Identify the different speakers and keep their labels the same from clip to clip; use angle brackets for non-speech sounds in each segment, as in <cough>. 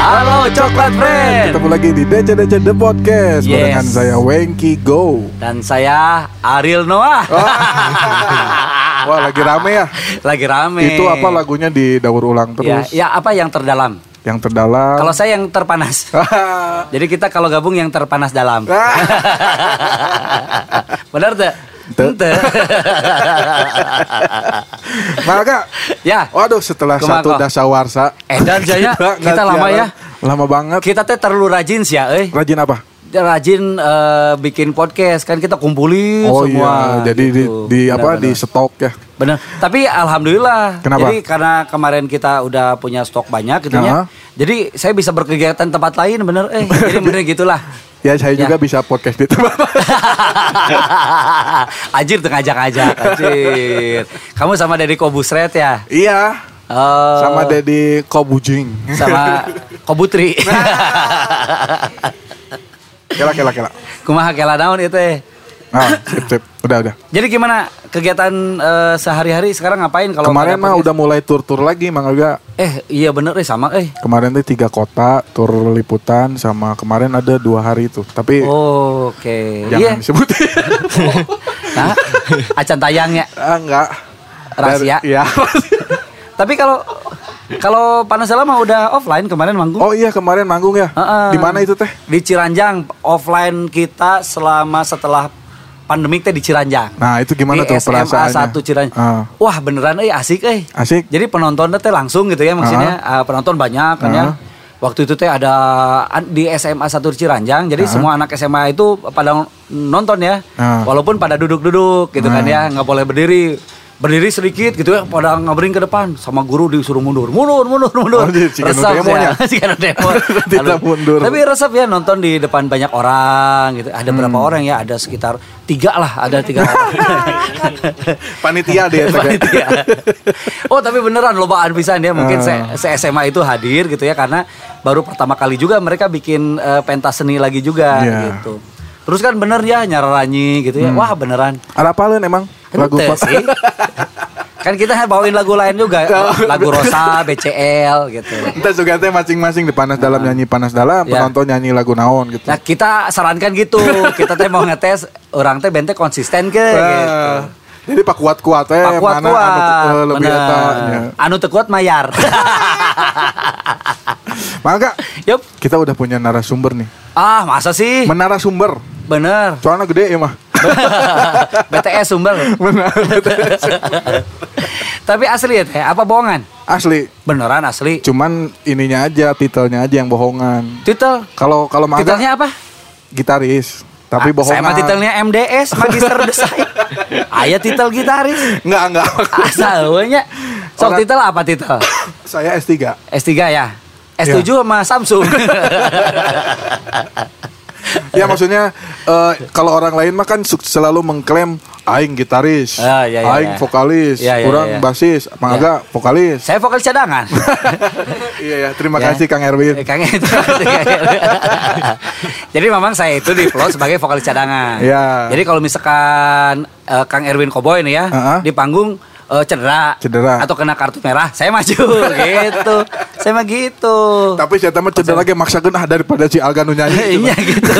Speaker 1: Halo Coklat Friend
Speaker 2: Ketemu lagi di DC The Podcast
Speaker 1: Yes.
Speaker 2: Barengan saya Wengki Go
Speaker 1: Dan saya Ariel Noah
Speaker 2: Oh.
Speaker 1: Ah,
Speaker 2: Wah lagi rame ya
Speaker 1: <laughs> Lagi ah, rame
Speaker 2: Itu apa lagunya didaur ulang
Speaker 1: ya,
Speaker 2: terus Ah.
Speaker 1: ya apa yang terdalam
Speaker 2: Yang terdalam
Speaker 1: Kalau
Speaker 2: <laughs>
Speaker 1: <laughs> saya yang
Speaker 2: Ah.
Speaker 1: terpanas Jadi kita kalau gabung yang terpanas dalam Benar tuh?
Speaker 2: Tuh. <laughs> Maka
Speaker 1: Ya.
Speaker 2: Waduh setelah
Speaker 1: Kumaha
Speaker 2: satu
Speaker 1: kok?
Speaker 2: dasawarsa
Speaker 1: Eh,
Speaker 2: <laughs>
Speaker 1: dan Jaya,
Speaker 2: nggak
Speaker 1: kita lama ya.
Speaker 2: Lama banget
Speaker 1: Kita teh terlalu rajin sih ya eh.
Speaker 2: Rajin apa?
Speaker 1: Rajin eh, bikin podcast Kan kita kumpulin
Speaker 2: Oh
Speaker 1: semua
Speaker 2: iya Jadi di,
Speaker 1: gitu.
Speaker 2: di apa
Speaker 1: Benar-benar.
Speaker 2: di stok ya
Speaker 1: Benar. Tapi alhamdulillah.
Speaker 2: Kenapa? Ah.
Speaker 1: Jadi karena kemarin kita udah punya stok banyak gitu ya.
Speaker 2: Aha.
Speaker 1: Jadi saya bisa berkegiatan tempat lain bener eh.
Speaker 2: <laughs>
Speaker 1: Jadi bener gitulah.
Speaker 2: Ya saya
Speaker 1: Ya.
Speaker 2: juga bisa podcast di
Speaker 1: <laughs>
Speaker 2: tempat
Speaker 1: Ajir tuh ngajak-ngajak Ajir. Kamu sama Deddy Kobusret ya?
Speaker 2: Iya
Speaker 1: Eh,
Speaker 2: Sama Deddy Kobujing <laughs>
Speaker 1: sama Kobutri.
Speaker 2: Kela kela kela
Speaker 1: Kumaha kela naon itu eh.
Speaker 2: Nah sip sip Udah udah
Speaker 1: Jadi gimana kegiatan eh, sehari-hari sekarang ngapain kalau
Speaker 2: Kemarin
Speaker 1: nggak ada
Speaker 2: mah
Speaker 1: podcast?
Speaker 2: udah mulai tur-tur lagi Mang Aga.
Speaker 1: eh iya bener eh sama eh.
Speaker 2: Kemarin tuh tiga kota tur liputan sama kemarin ada dua hari itu. Tapi
Speaker 1: Oke. Iya.
Speaker 2: jangan disebutin.
Speaker 1: Nah, acan tayangnya.
Speaker 2: <laughs> ah, enggak.
Speaker 1: Rahasia.
Speaker 2: Dari- Iya.
Speaker 1: <laughs> Tapi kalau kalau Panasela mah udah offline kemarin manggung.
Speaker 2: oh iya kemarin manggung ya.
Speaker 1: Heeh.
Speaker 2: Di mana itu teh?
Speaker 1: Di Ciranjang offline kita selama setelah pandemik teh di Ciranjang.
Speaker 2: Nah, itu gimana
Speaker 1: di
Speaker 2: tuh
Speaker 1: SMA
Speaker 2: perasaannya?
Speaker 1: 1 Ciranjang.
Speaker 2: Ah.
Speaker 1: Wah, beneran euy asik euy.
Speaker 2: Asik.
Speaker 1: Jadi penontonnya teh langsung gitu ya maksudnya ah, penonton banyak kan ya.
Speaker 2: Ah.
Speaker 1: Waktu itu teh ada an- di SMA 1 Ciranjang. Jadi semua anak SMA itu pada nonton ya.
Speaker 2: Ah.
Speaker 1: Walaupun pada duduk-duduk gitu kan ya, nggak boleh berdiri. Berdiri sedikit gitu ya, pada ngabring ke depan sama guru disuruh mundur. Mundur, mundur, mundur.
Speaker 2: Oh, jadi cikgu
Speaker 1: <laughs>
Speaker 2: demonya.
Speaker 1: Cikgu demo.
Speaker 2: <laughs> Tidak
Speaker 1: Aduh.
Speaker 2: mundur.
Speaker 1: Tapi resep ya nonton di depan banyak orang gitu. Ada berapa
Speaker 2: Hmm.
Speaker 1: orang ya? Ada sekitar tiga lah, ada
Speaker 2: <laughs>
Speaker 1: tiga orang.
Speaker 2: Panitia deh. teh.
Speaker 1: Panitia. ya. <laughs> oh tapi beneran lobaan pisan ya mungkin se,
Speaker 2: Ah.
Speaker 1: SMA itu hadir gitu ya karena baru pertama kali juga mereka bikin eh, pentas seni lagi juga
Speaker 2: Iya.
Speaker 1: gitu. Terus kan bener ya nyararanyi gitu ya. Wah beneran.
Speaker 2: Ada apa lu emang? Lagu
Speaker 1: Ente
Speaker 2: apa? <laughs>
Speaker 1: sih. kan kita bawain lagu lain juga, lagu Rosa, BCL gitu.
Speaker 2: Kita juga teh masing-masing di panas dalam nyanyi panas dalam,
Speaker 1: Ya.
Speaker 2: penonton nyanyi lagu naon gitu.
Speaker 1: Nah kita sarankan gitu, kita teh mau ngetes orang teh bente konsisten ke gitu.
Speaker 2: Eh, Jadi pak kuat-kuat eh
Speaker 1: Pak kuat
Speaker 2: mana anu eh, lebih eta nya.
Speaker 1: Anu teu kuat mayar. <laughs>
Speaker 2: Maka
Speaker 1: Yup.
Speaker 2: kita udah punya narasumber nih.
Speaker 1: Ah, masa sih?
Speaker 2: Menara sumber.
Speaker 1: Bener.
Speaker 2: <laughs> Soalnya gede ya mah.
Speaker 1: BTS sumber.
Speaker 2: Benar.
Speaker 1: <laughs> Tapi asli ya teh, apa bohongan?
Speaker 2: Asli.
Speaker 1: Beneran asli.
Speaker 2: Cuman ininya aja, titelnya aja yang bohongan.
Speaker 1: Titel.
Speaker 2: Kalau kalau Mang Aga,
Speaker 1: Titelnya apa?
Speaker 2: gitaris, tapi
Speaker 1: Ah, Saya
Speaker 2: bohongan.
Speaker 1: mah titelnya MDS, Magister <laughs> Desain. Aya titel gitaris.
Speaker 2: Enggak,
Speaker 1: <laughs>
Speaker 2: enggak.
Speaker 1: Asal we nya. Sok
Speaker 2: Orang-
Speaker 1: titel apa titel?
Speaker 2: Saya S3.
Speaker 1: S3 ya. S7 sama
Speaker 2: <laughs>
Speaker 1: Samsung.
Speaker 2: Ya maksudnya eh, kalau orang lain mah kan su- selalu mengklaim aing gitaris,
Speaker 1: Ah, iya, iya,
Speaker 2: aing
Speaker 1: iya.
Speaker 2: vokalis,
Speaker 1: Iya, iya,
Speaker 2: kurang
Speaker 1: iya.
Speaker 2: basis, Mang Aga vokalis.
Speaker 1: Saya vokal cadangan.
Speaker 2: iya ya, terima
Speaker 1: Ya.
Speaker 2: kasih Kang
Speaker 1: Eh,
Speaker 2: Erwin.
Speaker 1: Kang itu. <laughs> Jadi memang saya itu di flow sebagai vokalis cadangan.
Speaker 2: Iya.
Speaker 1: Jadi kalau misalkan eh, Kang Erwin Koboy nih ya
Speaker 2: Heeh.
Speaker 1: di panggung eh, cedera,
Speaker 2: Cedera.
Speaker 1: atau kena kartu merah, saya
Speaker 2: <laughs>
Speaker 1: maju gitu. Saya mah gitu.
Speaker 2: Tapi saya tamat cedera lagi maksa genah daripada si Alga nu
Speaker 1: <laughs>
Speaker 2: nyanyi.
Speaker 1: Iya gitu.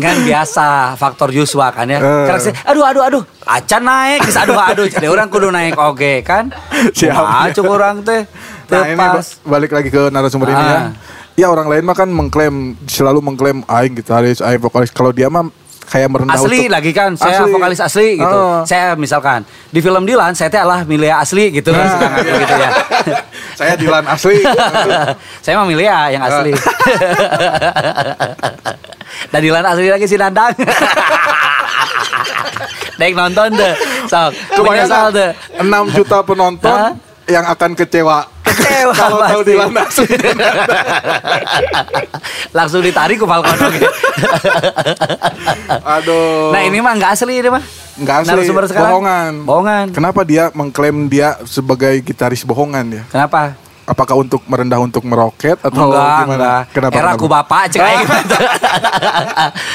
Speaker 1: kan biasa faktor Yuswa kan
Speaker 2: Eh.
Speaker 1: ya. Karena saya, aduh aduh aduh, acan naik, geus aduh aduh. Jadi orang kudu naik oge kan.
Speaker 2: <laughs> Siap.
Speaker 1: Maju kurang teh.
Speaker 2: Nah ini ba-
Speaker 1: Tepas.
Speaker 2: balik lagi ke narasumber ini ya.
Speaker 1: Ya, Ah.
Speaker 2: Ya orang lain mah kan mengklaim selalu mengklaim aing gitaris, aing vokalis. Kalau dia mah kayak merendah
Speaker 1: asli
Speaker 2: untuk-
Speaker 1: lagi kan saya
Speaker 2: Asli.
Speaker 1: vokalis asli gitu
Speaker 2: Ah.
Speaker 1: saya misalkan di film Dilan saya teh lah Milia asli gitu kan suka ngaku gitu ya
Speaker 2: Nah. <laughs>
Speaker 1: <laughs>
Speaker 2: Saya Dilan asli.
Speaker 1: saya mah Milia yang asli <laughs> dan Dilan asli lagi si Nandang <laughs> Dek nonton deh sok
Speaker 2: Kebayang
Speaker 1: menyesal deh
Speaker 2: 6 juta penonton
Speaker 1: Hah?
Speaker 2: yang akan kecewa.
Speaker 1: Kecewa
Speaker 2: <laughs> Kalau tahu
Speaker 1: pasti.
Speaker 2: Dilan
Speaker 1: <laughs>
Speaker 2: asli.
Speaker 1: langsung ditarik ke
Speaker 2: <laughs>
Speaker 1: balkon <laughs> oke.
Speaker 2: Aduh.
Speaker 1: nah ini mah nggak asli ini mah
Speaker 2: Nggak asli.
Speaker 1: Narasumber sekarang
Speaker 2: Bohongan.
Speaker 1: bohongan
Speaker 2: Kenapa dia mengklaim dia sebagai gitaris bohongan ya?
Speaker 1: kenapa
Speaker 2: Apakah untuk merendah untuk meroket atau
Speaker 1: enggak,
Speaker 2: gimana?
Speaker 1: enggak.
Speaker 2: Kenapa?
Speaker 1: Era
Speaker 2: kenapa?
Speaker 1: ku bapak cek aing.
Speaker 2: <laughs>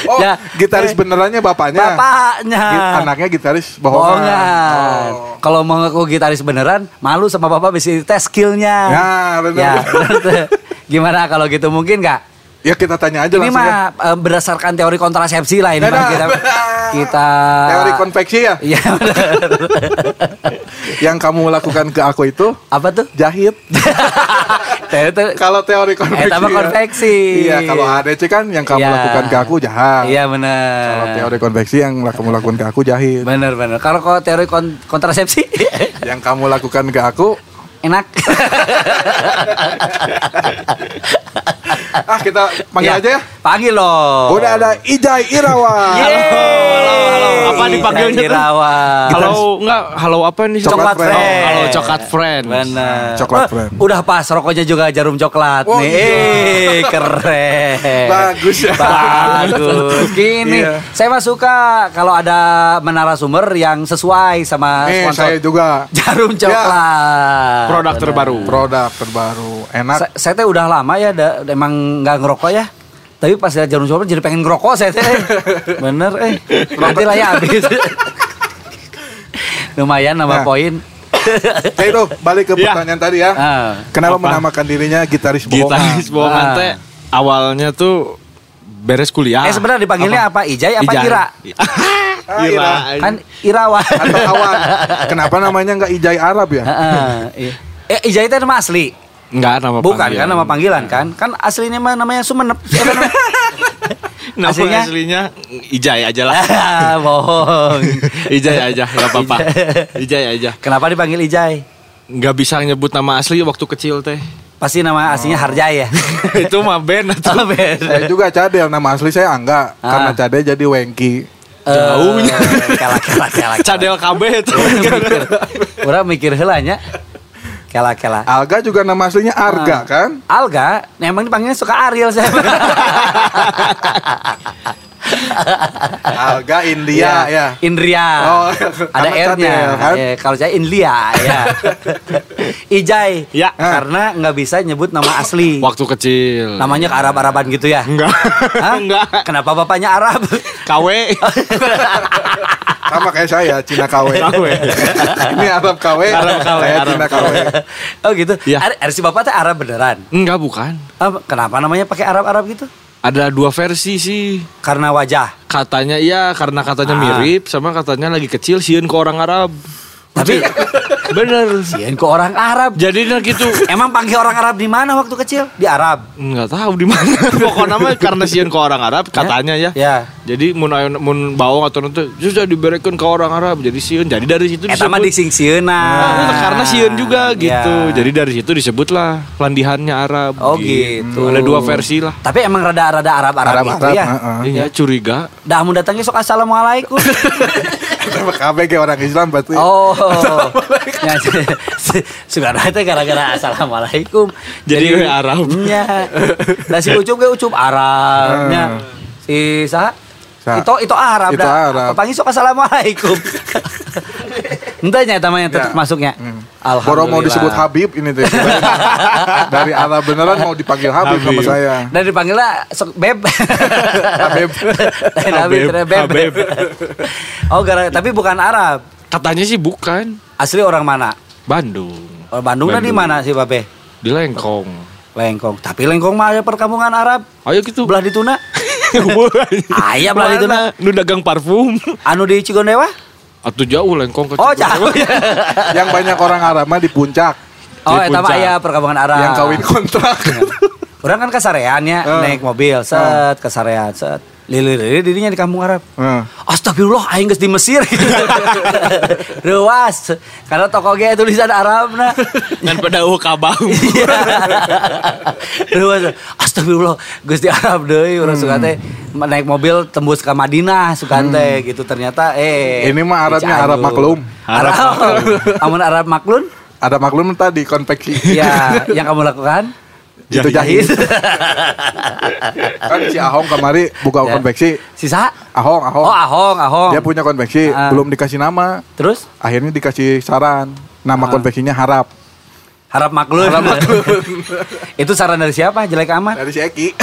Speaker 2: Oh,
Speaker 1: <laughs> Ya,
Speaker 2: gitaris benerannya bapaknya.
Speaker 1: Bapaknya.
Speaker 2: Gi- Anaknya gitaris bohongan.
Speaker 1: Ah. Bohongan.
Speaker 2: Oh.
Speaker 1: Kalau mau ngaku gitaris beneran, malu sama bapak bisa tes skillnya.
Speaker 2: Ya, bener.
Speaker 1: bener tuh. Gimana kalau gitu mungkin nggak?
Speaker 2: Ya kita tanya aja
Speaker 1: Ini
Speaker 2: langsung. ya.
Speaker 1: mah eh, berdasarkan teori kontrasepsi lah ini
Speaker 2: Dadah.
Speaker 1: mah kita
Speaker 2: <laughs>
Speaker 1: kita
Speaker 2: Teori konveksi
Speaker 1: <laughs>
Speaker 2: ya.
Speaker 1: Iya. bener.
Speaker 2: Yang kamu lakukan ke aku itu
Speaker 1: Apa
Speaker 2: <laughs>
Speaker 1: tuh? <laughs>
Speaker 2: jahit.
Speaker 1: Teori tuh-
Speaker 2: Kalau teori konveksi.
Speaker 1: Eta
Speaker 2: ya.
Speaker 1: mah Eh, konveksi.
Speaker 2: Iya, kalau ADC kan yang kamu
Speaker 1: Iya.
Speaker 2: lakukan ke aku jahat.
Speaker 1: Iya
Speaker 2: Kalau
Speaker 1: benar.
Speaker 2: teori konveksi yang kamu lakukan ke aku jahit.
Speaker 1: Benar benar. Kalau kalau teori kon- kontrasepsi <laughs>
Speaker 2: Yang kamu lakukan ke aku
Speaker 1: enak.
Speaker 2: ah kita panggil
Speaker 1: Iya.
Speaker 2: aja ya.
Speaker 1: Panggil loh.
Speaker 2: Udah ada Ijai Irawan.
Speaker 1: <laughs> Yeay.
Speaker 3: Halo, halo, halo. Apa dipanggilnya tuh?
Speaker 1: Jerawat.
Speaker 3: Halo, enggak, halo apa nih?
Speaker 1: Coklat
Speaker 2: Coklat friend.
Speaker 1: friend.
Speaker 3: Oh, halo, coklat friend.
Speaker 1: Benar.
Speaker 2: Coklat
Speaker 1: Wah,
Speaker 2: friend.
Speaker 1: Udah pas rokoknya juga jarum coklat
Speaker 2: Oh,
Speaker 1: nih.
Speaker 2: iya.
Speaker 1: Eh, <laughs> keren.
Speaker 2: Bagus ya.
Speaker 1: Bagus. Gini,
Speaker 2: Iya.
Speaker 1: saya mah suka kalau ada menara sumber yang sesuai sama
Speaker 2: Nih Eh,
Speaker 1: sponsor.
Speaker 2: saya Ya. juga
Speaker 1: Jarum coklat.
Speaker 3: Produk
Speaker 1: Benar.
Speaker 3: terbaru.
Speaker 2: produk terbaru enak.
Speaker 1: Sa- saya teh udah lama ya da- emang nggak ngerokok ya. Tapi pas lihat jarum coklat jadi pengen ngerokok saya teh. Bener eh. Nanti lah ya habis. Lumayan nambah
Speaker 2: Nah.
Speaker 1: poin.
Speaker 2: Oke itu balik ke
Speaker 3: Iya.
Speaker 2: pertanyaan tadi ya.
Speaker 1: Ah.
Speaker 2: Kenapa
Speaker 3: Apa?
Speaker 2: menamakan dirinya gitaris bohongan?
Speaker 3: Gitaris bohongan
Speaker 1: Ah.
Speaker 3: teh awalnya tuh beres kuliah.
Speaker 1: Eh sebenarnya dipanggilnya apa? Ijai apa
Speaker 3: Nah, Ijai.
Speaker 1: Ira?
Speaker 3: <laughs>
Speaker 2: Ah,
Speaker 3: Ira.
Speaker 1: Kan Irawan.
Speaker 2: Atau awan. Kenapa namanya nggak Ijai Arab ya?
Speaker 1: <laughs> Heeh, iya. eh Ijai itu nama asli.
Speaker 3: Enggak nama
Speaker 1: Bukan
Speaker 3: panggilan.
Speaker 1: kan nama panggilan kan? Kan aslinya mah namanya Sumenep. Siapa namanya?
Speaker 3: Nama
Speaker 1: Aslinya?
Speaker 3: aslinya, Ijai aja
Speaker 1: <laughs>
Speaker 3: lah.
Speaker 1: Ah, bohong.
Speaker 3: Ijai aja, enggak apa-apa. Ijai aja.
Speaker 1: Kenapa dipanggil Ijai?
Speaker 3: Enggak bisa nyebut nama asli waktu kecil
Speaker 1: <laughs>
Speaker 3: teh.
Speaker 1: Pasti nama aslinya Harjai ya.
Speaker 3: Itu mah Ben
Speaker 1: <laughs>
Speaker 3: atau
Speaker 1: Apa ya? beda?
Speaker 2: Saya juga Cadel, nama asli saya Angga
Speaker 1: Ah.
Speaker 2: Karena Cadel jadi Wengki
Speaker 3: Jauhnya.
Speaker 1: Eh, Kelak kelak kelak.
Speaker 3: Cadel KB itu.
Speaker 1: Mikir. Urang mikir heula nya. Kelak kelak.
Speaker 2: Alga juga nama aslinya Arga
Speaker 1: Ah.
Speaker 2: kan?
Speaker 1: Alga, nah emang dipanggilnya suka Ariel
Speaker 3: <laughs>
Speaker 1: saya.
Speaker 2: Alga India ya,
Speaker 1: Iya. Indria.
Speaker 2: Oh,
Speaker 1: ada
Speaker 2: karena
Speaker 1: R-nya.
Speaker 2: cadel, kan?
Speaker 1: Ya, kalau saya Inlia
Speaker 3: <laughs>
Speaker 1: ya. Ijai.
Speaker 3: Ya.
Speaker 1: Karena nggak bisa nyebut nama asli.
Speaker 3: Waktu kecil.
Speaker 1: Namanya ke Arab-Araban gitu ya?
Speaker 3: Enggak.
Speaker 1: Hah?
Speaker 3: <laughs> Enggak.
Speaker 1: Kenapa bapaknya Arab?
Speaker 3: KW.
Speaker 2: Sama kayak saya, Cina KW
Speaker 3: KW.
Speaker 2: Ini Arab KW,
Speaker 3: Arab KW,
Speaker 2: saya
Speaker 3: Arab
Speaker 2: Cina KW
Speaker 1: oh gitu.
Speaker 3: Ya.
Speaker 1: Ar- Ar- si bapak teh Arab beneran.
Speaker 3: Enggak bukan.
Speaker 1: Apa- Kenapa namanya pakai Arab-Arab gitu?
Speaker 3: Ada dua versi sih.
Speaker 1: Karena wajah.
Speaker 3: Katanya iya karena katanya
Speaker 1: Ah.
Speaker 3: mirip sama katanya lagi kecil sieun ke orang <laughs> Arab.
Speaker 1: Tapi
Speaker 3: Bener.
Speaker 1: Sian ke orang Arab.
Speaker 3: Jadi nah gitu.
Speaker 1: Emang panggil orang Arab di mana waktu kecil? Di Arab.
Speaker 3: Enggak tahu di mana. <laughs> Pokoknya mah karena sieun ke orang Arab katanya ya.
Speaker 1: Ya.
Speaker 3: Jadi mun ayeuna- mun bawa atau nanti sudah diberekeun ke orang Arab jadi sieun. Jadi dari situ
Speaker 1: Eta mah
Speaker 3: disebut.
Speaker 1: disingsieunan.
Speaker 3: Ah, karena sieun juga gitu.
Speaker 1: Ya.
Speaker 3: Jadi dari situ disebutlah landihannya Arab.
Speaker 1: Oh gitu.
Speaker 3: Ada dua versi lah.
Speaker 1: Tapi emang rada-rada Arab-Arab
Speaker 2: Arab
Speaker 1: gitu
Speaker 2: Arab,
Speaker 1: ya.
Speaker 2: heeh.
Speaker 3: Iya curiga.
Speaker 1: Dah mau datangnya sok
Speaker 3: <laughs>
Speaker 1: assalamualaikum.
Speaker 2: Sama KB kayak orang Islam berarti
Speaker 1: oh. Ya, Sugarna teh gara-gara assalamualaikum.
Speaker 3: Jadi we Arab.
Speaker 1: Nya. Nah si ucup ge ucup
Speaker 2: Ah.
Speaker 1: Arab. Nya. Si saha?
Speaker 2: Saha?
Speaker 1: Itu itu Arab
Speaker 2: Itu Arab.
Speaker 1: Panggil sok
Speaker 2: <laughs>
Speaker 1: assalamualaikum. Entah nya tamanya tetap
Speaker 2: Ya.
Speaker 1: masuknya. Alhamdulillah.
Speaker 2: Boro mau disebut Habib ini tuh Dari Arab beneran mau dipanggil Habib, sama
Speaker 3: Habib.
Speaker 2: saya
Speaker 1: Dan dipanggilnya sok beb.
Speaker 2: <laughs> Habib.
Speaker 1: Lain Habib,
Speaker 3: Habib,
Speaker 1: ternyata beb.
Speaker 3: Habib.
Speaker 1: Oh, gara tapi bukan Arab.
Speaker 3: Katanya sih bukan.
Speaker 1: Asli orang mana?
Speaker 3: Bandung.
Speaker 1: Orang Bandung, tadi
Speaker 3: Bandung.
Speaker 1: mana sih, Babe?
Speaker 3: Di Lengkong.
Speaker 1: Lengkong. Tapi Lengkong mah ada perkampungan Arab.
Speaker 3: Ayo gitu.
Speaker 1: Belah dituna. Aya belah
Speaker 3: Mana?
Speaker 1: dituna.
Speaker 3: Nu dagang parfum.
Speaker 1: Anu di Cigondewa?
Speaker 3: Atau jauh Lengkong ke
Speaker 1: Oh, jauh
Speaker 3: Cikondewa.
Speaker 1: ya.
Speaker 2: Yang banyak orang Arab mah di puncak
Speaker 1: <laughs> Oh,
Speaker 3: Di
Speaker 1: eta mah
Speaker 3: puncak.
Speaker 1: aya perkampungan Arab.
Speaker 2: Yang kawin <laughs> kontrak
Speaker 1: Orang kan kasarean ya,
Speaker 2: Eh.
Speaker 1: naik mobil, set kasarean, set. Lilir-lilir dirinya di kampung Arab.
Speaker 2: Heeh.
Speaker 1: Astagfirullah, aing geus di Mesir. Rewas. Karena toko ge tulisan Arabna.
Speaker 3: Dan pada uh
Speaker 1: <laughs>
Speaker 3: kabang.
Speaker 1: Iya. Rewas. Astagfirullah, geus di Arab deui
Speaker 2: Hmm.
Speaker 1: urang suka teh naik mobil tembus ke Madinah suka teh gitu ternyata eh
Speaker 2: Hmm. Ini mah Arabnya
Speaker 1: di Cianjur.
Speaker 2: Arab maklum.
Speaker 1: Arab. Amun Arab maklun?
Speaker 2: Ada maklum tadi konveksi
Speaker 1: Ya, yang kamu lakukan
Speaker 2: <laughs> Itu Iya. jahit Kan si Ahong kemari <laughs> buka
Speaker 1: Ya.
Speaker 2: konveksi
Speaker 1: <laughs> Sisa?
Speaker 2: Ahong, Iya. Ahong
Speaker 1: Oh, ahong, ahong.
Speaker 2: Dia punya konveksi
Speaker 1: Ah.
Speaker 2: Belum dikasih nama
Speaker 1: Terus?
Speaker 2: Akhirnya dikasih saran Nama konveksinya Harap
Speaker 1: Harap maklum. <laughs> itu saran dari siapa? Jelek amat.
Speaker 2: Dari si <laughs> Eki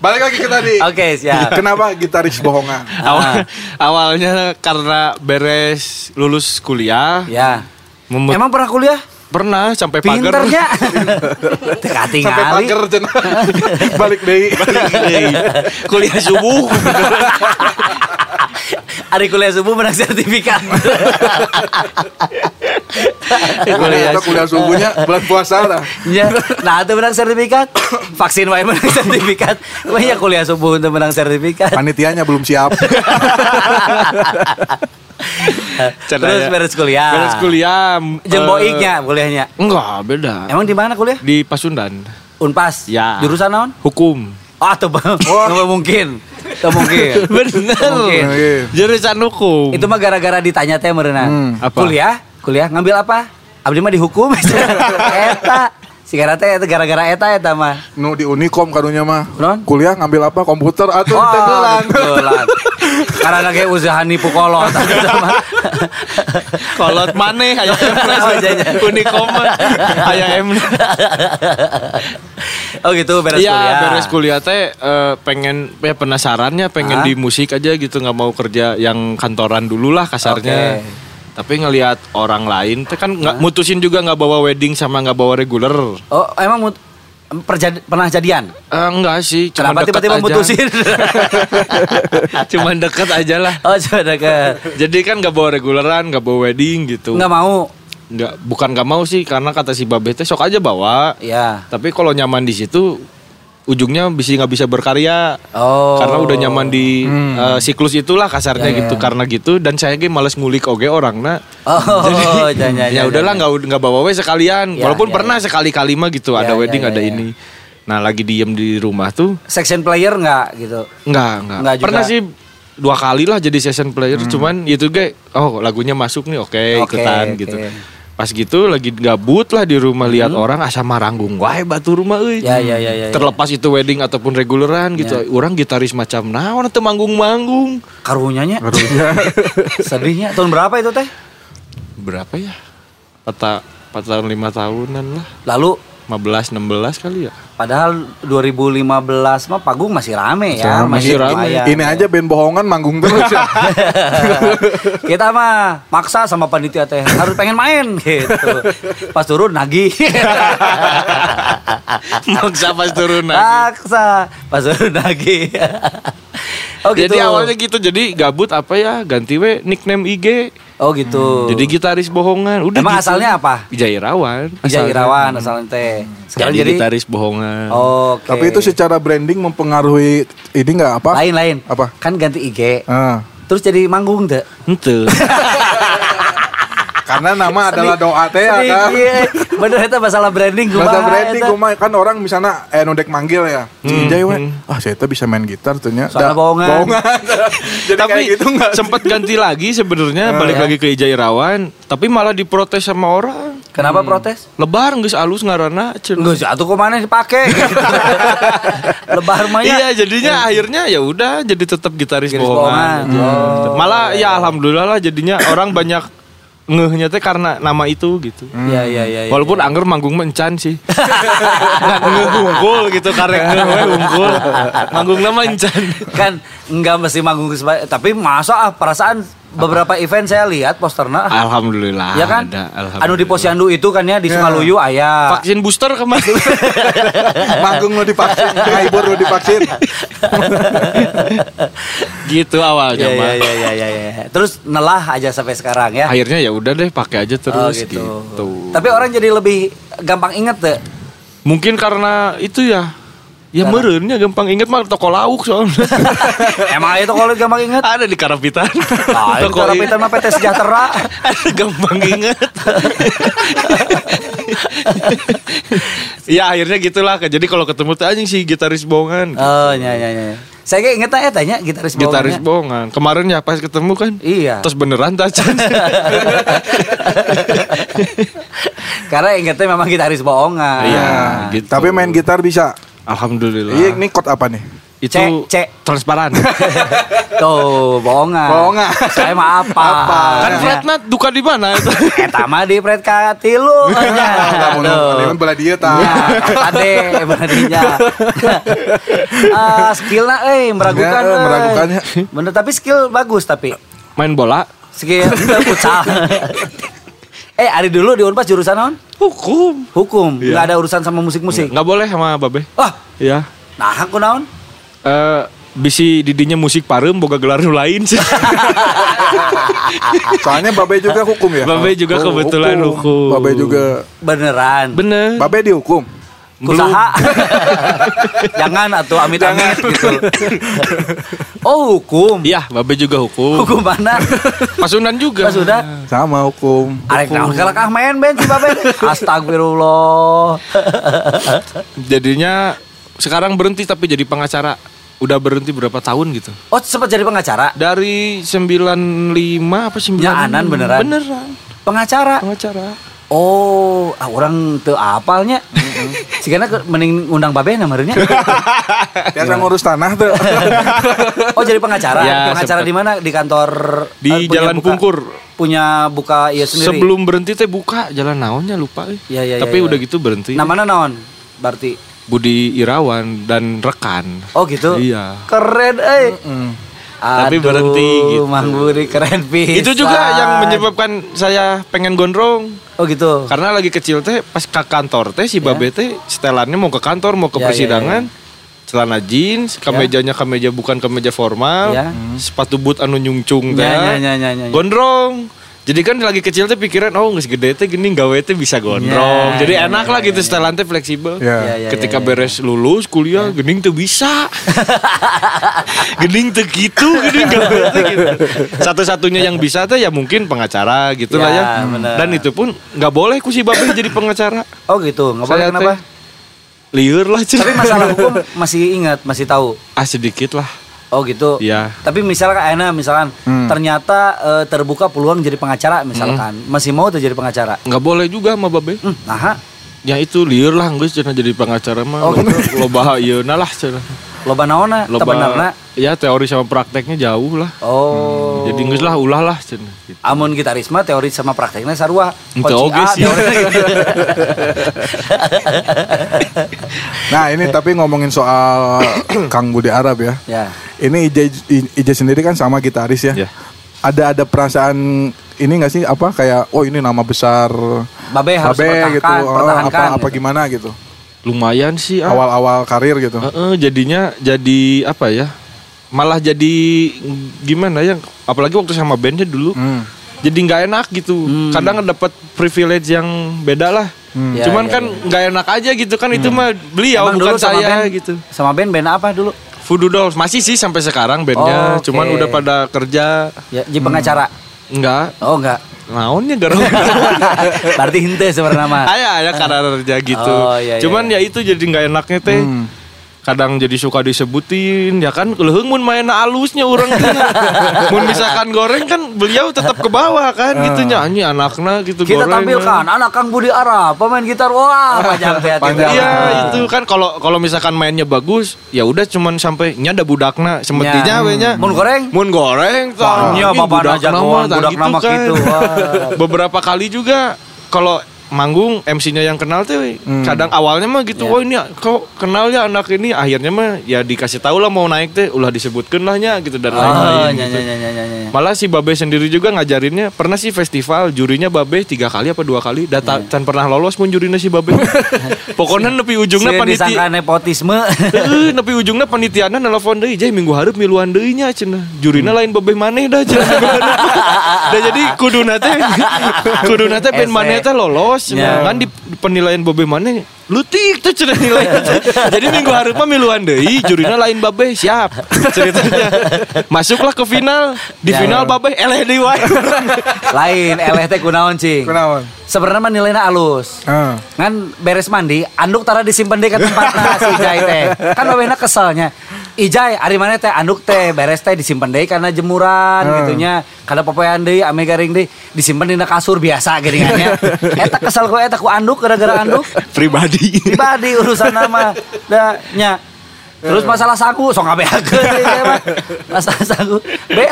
Speaker 2: Balik lagi ke tadi ya.
Speaker 1: Oke, siap.
Speaker 2: Kenapa gitaris bohongan?
Speaker 3: Awal, awalnya karena beres lulus kuliah,
Speaker 1: Ya.
Speaker 3: memut-
Speaker 1: Emang pernah kuliah?
Speaker 3: pernah sampai <laughs> pagar
Speaker 2: <laughs>
Speaker 1: Pinternya. Teka
Speaker 2: Sampai
Speaker 1: tingali.
Speaker 2: pagar <laughs> cenah. Balik deui.
Speaker 3: kuliah
Speaker 1: <laughs>
Speaker 3: subuh
Speaker 1: Iya. Hari kuliah subuh menang
Speaker 3: <laughs>
Speaker 1: sertifikat.
Speaker 2: Kuliah atau kuliah subuhnya bulan puasa <laughs> lah.
Speaker 1: Ya,
Speaker 3: Iya.
Speaker 1: nah itu menang
Speaker 3: <coughs>
Speaker 1: sertifikat. Vaksin wae menang sertifikat. Wah ya kuliah subuh untuk menang <laughs> sertifikat.
Speaker 2: Panitianya belum siap.
Speaker 1: Terus beres kuliah.
Speaker 3: ya. beres kuliah
Speaker 1: Jeung
Speaker 3: eh,
Speaker 1: boiknya kuliahnya.
Speaker 3: enggak beda
Speaker 1: Emang di mana kuliah?
Speaker 3: di Pasundan
Speaker 1: Unpas.
Speaker 3: Ya.
Speaker 1: Jurusan naon?
Speaker 3: hukum
Speaker 1: Ah, tuh Bang. Nggak mungkin. Tuh
Speaker 2: Iya.
Speaker 1: mungkin. Mungkin.
Speaker 3: <laughs> bener jurusan hukum
Speaker 1: Iya. Itu mah gara-gara ditanya teh merenang.
Speaker 2: Hmm,
Speaker 3: apa?
Speaker 1: Kuliah, kuliah ngambil apa? Abdi mah dihukum. <laughs> eta. Si teh eta gara-gara eta eta mah.
Speaker 2: Nu di Unikom karunya mah.
Speaker 1: Naon?
Speaker 2: Kuliah ngambil apa? Komputer atau
Speaker 1: Wah,
Speaker 2: tegelan. <laughs>
Speaker 1: tenggelan. Oh, Karena kayak usaha nipu kolot. <laughs> Eta mah.
Speaker 3: kolot maneh aya empres
Speaker 1: <laughs> Oh, janya.
Speaker 3: unikom aya empres
Speaker 1: oh gitu beres
Speaker 3: Iya
Speaker 1: kuliah.
Speaker 3: beres kuliah teh eh, pengen ya penasarannya pengen
Speaker 1: Hah?
Speaker 3: di musik aja gitu nggak mau kerja yang kantoran dulu lah kasarnya.
Speaker 1: Oke.
Speaker 3: Tapi ngelihat orang lain teh kan nggak mutusin juga nggak bawa wedding sama nggak bawa reguler.
Speaker 1: Oh, emang mut- perjad- pernah jadian?
Speaker 3: Eh, enggak sih, cuma
Speaker 1: Kenapa
Speaker 3: deket
Speaker 1: tiba-tiba
Speaker 3: aja.
Speaker 1: mutusin?
Speaker 3: cuman deket aja lah.
Speaker 1: oh, coba deket.
Speaker 3: <laughs> Jadi kan nggak bawa reguleran, nggak bawa wedding gitu.
Speaker 1: Nggak mau.
Speaker 3: Nggak, bukan nggak mau sih karena kata si Babe teh sok aja bawa.
Speaker 1: Ya.
Speaker 3: Tapi kalau nyaman di situ ujungnya bisa nggak bisa berkarya.
Speaker 1: Oh. Hmm. Ya,
Speaker 3: karena udah nyaman di eh, siklus itulah kasarnya gitu karena gitu dan saya ge males ngulik oge orang nah
Speaker 1: Oh, <laughs> ya, ya,
Speaker 3: ya udahlah nggak ud- nggak bawa we sekalian
Speaker 1: Ya,
Speaker 3: walaupun
Speaker 1: ya,
Speaker 3: pernah sekali-kali mah gitu
Speaker 1: Ya, ya,
Speaker 3: ada wedding
Speaker 1: ya,
Speaker 3: ada
Speaker 1: ya.
Speaker 3: ini nah lagi diem di rumah tuh
Speaker 1: Section player nggak gitu.
Speaker 3: nggak nggak
Speaker 1: Nggak juga. Hmm.
Speaker 3: pernah sih dua kali lah jadi session player cuman itu ge oh lagunya masuk nih oke
Speaker 1: Oke,
Speaker 3: ikutan
Speaker 1: oke. Hmm.
Speaker 3: gitu pas gitu lagi gabut lah di rumah lihat orang asal maranggung wah batu rumah euy
Speaker 1: Ya, ya, ya, ya, ya.
Speaker 3: terlepas itu wedding ataupun reguleran gitu orang gitaris macam naon teu manggung-manggung
Speaker 1: Karunyanya. <laughs> Sedihnya tahun berapa itu teh?
Speaker 3: berapa ya? Kata 4 tahun 5 tahunan lah.
Speaker 1: Lalu
Speaker 3: 15 16 kali
Speaker 1: <laughs>
Speaker 3: ya.
Speaker 1: padahal 2015 mah Pagung masih rame ya,
Speaker 3: Masih rame.
Speaker 1: lumayan.
Speaker 2: Ini aja band bohongan manggung terus ya.
Speaker 1: <laughs> Kita mah maksa sama panitia teh harus pengen main <laughs> gitu. Pas turun nagih. <laughs>
Speaker 3: Maksa pas turun
Speaker 1: Ah,
Speaker 3: lagi.
Speaker 1: maksa. Pas turun nagih. <laughs> Oh gitu.
Speaker 3: Jadi awalnya gitu jadi gabut apa ya ganti we nickname IG.
Speaker 1: Oh gitu.
Speaker 3: Hmm, Jadi gitaris bohongan. Udah
Speaker 1: Emang
Speaker 3: gitu.
Speaker 1: asalnya apa?
Speaker 3: Ijai Irawan.
Speaker 1: Ija
Speaker 3: asalnya.
Speaker 1: Iya,
Speaker 3: Hmm.
Speaker 1: Irawan asalnya teh. Sekarang
Speaker 3: Jadi,
Speaker 1: jadi, Oh.
Speaker 3: gitaris bohongan. <laughs>
Speaker 1: Oke.
Speaker 2: Tapi itu secara branding mempengaruhi ini nggak apa?
Speaker 1: lain-lain.
Speaker 2: Apa?
Speaker 1: Kan ganti IG.
Speaker 2: Ah.
Speaker 1: Terus jadi manggung teh.
Speaker 3: Henteu.
Speaker 1: <laughs>
Speaker 2: Karena nama adalah doa teh ya
Speaker 1: Sedikit.
Speaker 2: kan.
Speaker 1: iya. Bener itu masalah branding kumaha
Speaker 2: Bahasa branding
Speaker 1: eta.
Speaker 2: kumaha kan orang misalnya eh nudek manggil ya. Si Ijai we. Ah, saya tuh bisa main gitar ternyata.
Speaker 1: Soalnya bohongan.
Speaker 2: Jadi
Speaker 3: tapi
Speaker 2: kayak gitu enggak?
Speaker 3: sempat ganti lagi
Speaker 1: Ah,
Speaker 3: sebenarnya balik
Speaker 1: ya.
Speaker 3: lagi ke Ijai Irawan, tapi malah diprotes sama orang.
Speaker 1: Kenapa
Speaker 2: Hmm.
Speaker 1: protes?
Speaker 3: Lebar geus alus ngaranna. cenah.
Speaker 1: Enggak sih, atuh kemana
Speaker 2: <laughs>
Speaker 1: dipake gitu. Lebar mah
Speaker 3: Iya
Speaker 1: ya.
Speaker 3: jadinya akhirnya ya udah jadi tetap gitaris
Speaker 1: Gitaris bohongan.
Speaker 3: bohongan. Hmm. Malah ya alhamdulillah lah jadinya orang banyak ngehnya teh karena nama itu gitu.
Speaker 2: Hmm.
Speaker 1: Iya, iya, iya. iya. <laughs>
Speaker 3: Walaupun <laughs> Angger manggung mencan sih. Nggak ngeh unggul gitu
Speaker 1: ya.
Speaker 3: karek ngeh we unggul. Manggung nama mencan.
Speaker 1: kan enggak mesti manggung seba- tapi masa ah perasaan beberapa event saya lihat posternya ah,
Speaker 3: Alhamdulillah.
Speaker 1: ya kan
Speaker 3: Ada, alhamdulillah.
Speaker 1: anu di posyandu itu kan ya di Sukaluyu ayah
Speaker 3: Vaksin booster kemarin.
Speaker 2: Manggung lu divaksin, ngahibur lu divaksin.
Speaker 3: gitu
Speaker 1: ya,
Speaker 3: awalnya
Speaker 1: ya,
Speaker 3: mah.
Speaker 1: ya, ya, ya, ya. terus nelah aja sampai sekarang ya
Speaker 3: Akhirnya ya udah deh pakai aja terus
Speaker 1: Oh,
Speaker 3: gitu.
Speaker 1: tapi orang jadi lebih gampang inget tuh
Speaker 3: Mungkin karena itu ya Ya merenya gampang inget mah toko lauk soalnya
Speaker 1: <laughs> emang itu kalau gampang inget
Speaker 3: Ada di Karapitan.
Speaker 1: Nah, itu
Speaker 3: Toko
Speaker 1: kalau
Speaker 3: ini.
Speaker 1: pinter mah PT Sejahtera.
Speaker 3: Ada gampang inget. ya akhirnya gitulah. Jadi kalau ketemu tuh anjing si gitaris bohongan.
Speaker 1: Oh, ya ya ya. Saya kayak ingetnya ya tanya gitaris bawangnya.
Speaker 3: Gitaris bohongan. Kemarin ya pas ketemu kan.
Speaker 1: Iya.
Speaker 3: Terus beneran tacan.
Speaker 1: Karena ingetnya memang gitaris bohongan.
Speaker 3: Iya.
Speaker 2: Nah,
Speaker 3: gitu.
Speaker 2: Tapi main gitar bisa.
Speaker 3: Alhamdulillah.
Speaker 2: Iya, ini chord apa nih?
Speaker 3: Itu
Speaker 1: Cek, cek.
Speaker 3: transparan.
Speaker 1: Tuh, bohongan.
Speaker 2: Bohongan.
Speaker 1: Saya mah apa?
Speaker 2: Apa?
Speaker 1: Iya.
Speaker 3: kan Frednat duka di mana?
Speaker 1: Eta mah di pret ka
Speaker 2: <laughs>
Speaker 1: tilu.
Speaker 2: Enggak mau nonton bola dia
Speaker 1: Iya.
Speaker 2: tah.
Speaker 1: Ade berartinya. Ah, skillnya eh meragukan.
Speaker 2: Ya,
Speaker 1: eh.
Speaker 2: meragukannya.
Speaker 1: Bener tapi skill bagus tapi
Speaker 3: Main bola.
Speaker 1: skill futsal. Eh, hari dulu di Unpas jurusan non?
Speaker 3: Hukum.
Speaker 1: Hukum.
Speaker 3: Iya.
Speaker 1: Nggak ada urusan sama musik-musik.
Speaker 3: Nggak boleh sama babe.
Speaker 1: Wah,
Speaker 3: Iya.
Speaker 1: nah aku naon?
Speaker 3: Eh bisi didinya musik parem boga gelar nu lain sih.
Speaker 2: Soalnya Babe juga hukum ya.
Speaker 3: Babe juga kebetulan hukum.
Speaker 2: Babe juga.
Speaker 1: Beneran.
Speaker 3: Bener.
Speaker 2: Babe dihukum.
Speaker 1: Kusaha. <laughs> Jangan atuh amit-amit gitu. Oh, hukum.
Speaker 3: Iya, babe juga hukum.
Speaker 1: Hukum mana?
Speaker 3: Pasunan juga.
Speaker 1: Pas sudah
Speaker 2: Sama hukum.
Speaker 1: Arek naon kalau kah main ben si
Speaker 3: <laughs>
Speaker 1: Babe. Astagfirullah.
Speaker 3: Jadinya sekarang berhenti tapi jadi pengacara. Udah berhenti berapa tahun gitu?
Speaker 1: Oh, sempat jadi pengacara?
Speaker 3: Dari 95 apa 96?
Speaker 1: Ya, Anan beneran. Eh,
Speaker 3: Beneran.
Speaker 1: Pengacara.
Speaker 3: Pengacara.
Speaker 1: Oh, ah, orang teu apalnya. Si kana ke- mending undang Babe namanya. Iya.
Speaker 2: Biasa ngurus tanah
Speaker 1: <laughs>
Speaker 2: tuh.
Speaker 1: Oh, jadi pengacara.
Speaker 3: Ya,
Speaker 1: pengacara
Speaker 3: sempat.
Speaker 1: di mana? Di kantor
Speaker 3: Di
Speaker 1: eh, punya
Speaker 3: Jalan
Speaker 1: buka-
Speaker 3: Pungkur.
Speaker 1: Punya buka iya sendiri.
Speaker 3: Sebelum berhenti teh buka jalan naonnya lupa eh.
Speaker 1: Ya, ya, ya,
Speaker 3: Tapi
Speaker 1: ya.
Speaker 3: udah gitu berhenti.
Speaker 1: Namanya naon? Berarti
Speaker 3: Budi Irawan dan rekan.
Speaker 1: Oh gitu.
Speaker 3: Iya.
Speaker 1: Keren, eh.
Speaker 3: Tapi
Speaker 1: Aduh,
Speaker 3: berhenti gitu.
Speaker 1: Mang Budi keren pisan.
Speaker 3: Itu juga yang menyebabkan saya pengen gondrong.
Speaker 1: Oh gitu.
Speaker 3: Karena lagi kecil teh pas ke kantor teh si Babe teh setelannya mau ke kantor, mau ke
Speaker 1: Ya, ya,
Speaker 3: persidangan. Celana jeans, kamejanya kemeja bukan kemeja formal,
Speaker 1: Ya.
Speaker 3: sepatu boot anu nyungcung teh.
Speaker 1: Ya, ya, ya, ya, ya, ya.
Speaker 3: Gondrong. Jadi kan lagi kecil teh pikiran oh geus gede teh gini gawe teh bisa
Speaker 1: Ya,
Speaker 3: gondrong. Jadi
Speaker 1: ya,
Speaker 3: enak lah gitu setelan teh fleksibel.
Speaker 2: Ya.
Speaker 1: Ya, ya, ya, ya.
Speaker 3: Ketika beres lulus kuliah gening teu bisa.
Speaker 1: <laughs>
Speaker 3: gening teu gitu, gening gawe teh gitu. Satu-satunya yang bisa teh ya mungkin pengacara gitu lah ya.
Speaker 1: Ya, bener.
Speaker 3: Dan itu pun nggak boleh ku si Babe <laughs> jadi pengacara.
Speaker 1: Oh gitu. Enggak boleh
Speaker 3: Saya
Speaker 1: kenapa?
Speaker 3: teh Liur lah cuy.
Speaker 1: Tapi
Speaker 3: <laughs>
Speaker 1: masalah hukum masih ingat, masih tahu.
Speaker 3: ah sedikit lah.
Speaker 1: Oh gitu.
Speaker 3: Iya.
Speaker 1: Tapi misalkan Aina misalkan
Speaker 2: Hmm.
Speaker 1: ternyata eh, terbuka peluang jadi pengacara misalkan.
Speaker 3: Hmm.
Speaker 1: Masih mau tuh jadi pengacara?
Speaker 3: Nggak boleh juga sama Babe.
Speaker 1: Hmm, nah,
Speaker 3: Ya itu liur lah geus cenah jadi pengacara mah.
Speaker 1: Oh, gitu.
Speaker 3: Loba ayeuna lah cenah.
Speaker 1: loba naona,
Speaker 3: Loba-
Speaker 1: tebenarna.
Speaker 3: Ya teori sama prakteknya jauh lah.
Speaker 1: Oh.
Speaker 3: Jadi geus lah ulah lah cenah. Gitu.
Speaker 1: Amun gitarisme teori sama prakteknya sarua.
Speaker 3: Ente
Speaker 1: Koci
Speaker 3: oge
Speaker 1: A, gitu.
Speaker 3: sih.
Speaker 1: teori-
Speaker 3: <laughs>
Speaker 2: Nah ini tapi ngomongin
Speaker 1: <coughs>
Speaker 2: soal Kang Budi Arab ya.
Speaker 1: ya.
Speaker 2: Ini IJ, IJ sendiri kan sama gitaris ya.
Speaker 3: Ya.
Speaker 2: Ada ada perasaan ini gak sih apa kayak oh ini nama besar
Speaker 1: Babe Eh, harus pertahankan,
Speaker 2: gitu oh,
Speaker 1: pertahankan,
Speaker 2: apa apa
Speaker 1: gitu. Iya.
Speaker 2: gimana gitu
Speaker 3: Lumayan sih ah.
Speaker 2: awal-awal karir gitu
Speaker 3: Heeh, jadinya jadi apa ya? Malah jadi gimana ya? Apalagi waktu sama bandnya dulu.
Speaker 2: Hmm.
Speaker 3: Jadi nggak enak gitu.
Speaker 1: Hmm.
Speaker 3: Kadang dapat privilege yang beda lah.
Speaker 1: Ya,
Speaker 3: Cuman
Speaker 1: ya,
Speaker 3: kan nggak enak aja gitu kan itu mah beliau
Speaker 1: Emang dulu
Speaker 3: bukan
Speaker 1: Hmm. sama
Speaker 3: saya
Speaker 1: band-
Speaker 3: gitu.
Speaker 1: Sama band band apa dulu?
Speaker 3: Voodoo Dolls masih sih sampai
Speaker 1: Oh,
Speaker 3: sekarang bandnya.
Speaker 1: oke.
Speaker 3: Cuman udah pada kerja
Speaker 1: Ya,
Speaker 2: Hmm.
Speaker 1: jadi pengacara.
Speaker 3: nggak ya,
Speaker 1: Oh
Speaker 3: <laughs>
Speaker 1: enggak.
Speaker 3: naonnya
Speaker 1: <laughs>
Speaker 3: gara
Speaker 1: Berarti hente sebenarnya mah.
Speaker 3: Aya aya kararja gitu.
Speaker 1: Oh, iya, iya,
Speaker 3: Cuman ya itu jadi nggak enaknya teh.
Speaker 2: Hmm.
Speaker 3: Kadang jadi suka disebutin ya kan leuheung mun main alusnya urang teh. mun misalkan goreng kan beliau tetap ke bawah kan gitu nyanyi anaknya gitu
Speaker 1: Kita kan?
Speaker 3: goreng.
Speaker 1: tampilkan anak Kang Budi Arab, pemain gitar. Wah,
Speaker 3: <laughs>
Speaker 1: panjang teh.
Speaker 2: Panjang.
Speaker 1: Iya.
Speaker 3: Iya itu kan kalau kalau misalkan mainnya bagus ya udah cuman sampai nyada budakna
Speaker 1: Ya.
Speaker 3: semetinya we nya.
Speaker 1: Mun goreng?
Speaker 3: Mun goreng tah.
Speaker 1: Iya,
Speaker 3: Ih,
Speaker 1: bapak
Speaker 3: budak
Speaker 1: aja
Speaker 3: nama, kan.
Speaker 1: kawan,
Speaker 3: tah
Speaker 1: budak nama gitu.
Speaker 3: <laughs>
Speaker 1: Wah.
Speaker 3: beberapa kali juga kalau manggung MC-nya yang kenal tuh we. kadang awalnya mah
Speaker 1: Ya.
Speaker 3: gitu wah ini kok kenal ya anak ini akhirnya mah ya dikasih tahu lah mau naik teh ulah disebutkan lahnya gitu dan
Speaker 1: Oh,
Speaker 3: lain-lain
Speaker 1: nya, nya,
Speaker 3: gitu.
Speaker 1: nya, nya, nya, nya.
Speaker 3: Malah si Babe sendiri juga ngajarinnya Pernah sih festival jurinya Babe tiga kali apa dua kali Data can pernah lolos mun jurinya si Babe Pokoknya nepi ujungnya
Speaker 1: Si disangka
Speaker 3: panitia
Speaker 1: nepotisme. <laughs>
Speaker 3: Heeh, Eh, nepi ujungna panitiana nelpon deui, "Jay minggu hareup miluan deui nya cenah. Jurina lain babeh maneh dah cenah." <laughs> Da jadi kuduna teh <laughs> kuduna teh ben
Speaker 1: Ese.
Speaker 3: maneh teh lolos
Speaker 1: Ya.
Speaker 3: cenah. Kan di di penilaian babeh maneh leutik teh cenah nilai. Jadi minggu hareup mah miluan deui, jurina lain babeh siap. Ceritanya masuklah ke final. Di
Speaker 1: Ya.
Speaker 3: final babeh eleh deui wae.
Speaker 1: Lain eleh teh kunaon cing.
Speaker 2: Kunaon?
Speaker 1: Sebenarnya mah nilainya alus.
Speaker 2: Ah.
Speaker 1: Kan beres mandi, anduk tara disimpan deh ke tempatna si Ijay teh. Kan babehna keselnya. Ijay, ari mana teh anduk teh beres teh disimpan deh karena jemuran gitunya. Kada popoean deui, ame garing deui, disimpan dina kasur biasa geringannya. Eta kesel ku eta ku anduk gara-gara anduk.
Speaker 3: Pribadi.
Speaker 1: Pribadi urusan nama da nya. Terus masalah sagu sok <laughs> ngabeakeun ieu mah. Masalah sagu beak.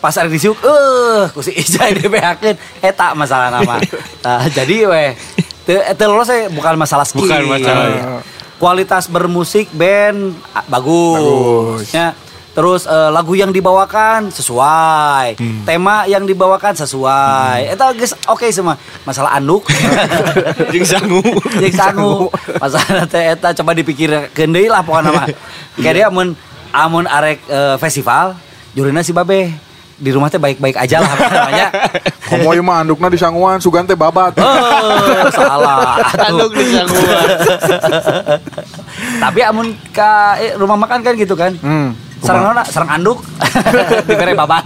Speaker 1: Pas ari disiuk eh ku si Ijay <laughs> dibeakeun eta masalah nama. Nah, jadi weh teu teu lolos eh, bukan masalah iya. skill.
Speaker 3: Bukan masalah.
Speaker 1: Kualitas bermusik band ah, bagus.
Speaker 2: Bagus.
Speaker 1: Ya, terus eh, lagu yang dibawakan sesuai tema yang dibawakan sesuai eta geus oke semua masalah <laughs> anduk
Speaker 3: Jeung sangu.
Speaker 1: <laughs> Jeung sangu. anu, Masalah teh eta coba dipikirkeun deui lah pokona mah. Kayak dia amun amun arek eh, festival jurina si Babe di rumah teh baik-baik aja lah apa namanya.
Speaker 2: Komoy mah andukna di sanguan, sugan teh babat.
Speaker 1: Oh, salah. Atuh.
Speaker 3: Anduk di sanguan.
Speaker 1: Tapi amun ka eh, rumah makan kan gitu kan.
Speaker 2: Hmm.
Speaker 1: Sarang nona, sarang anduk dibere babat.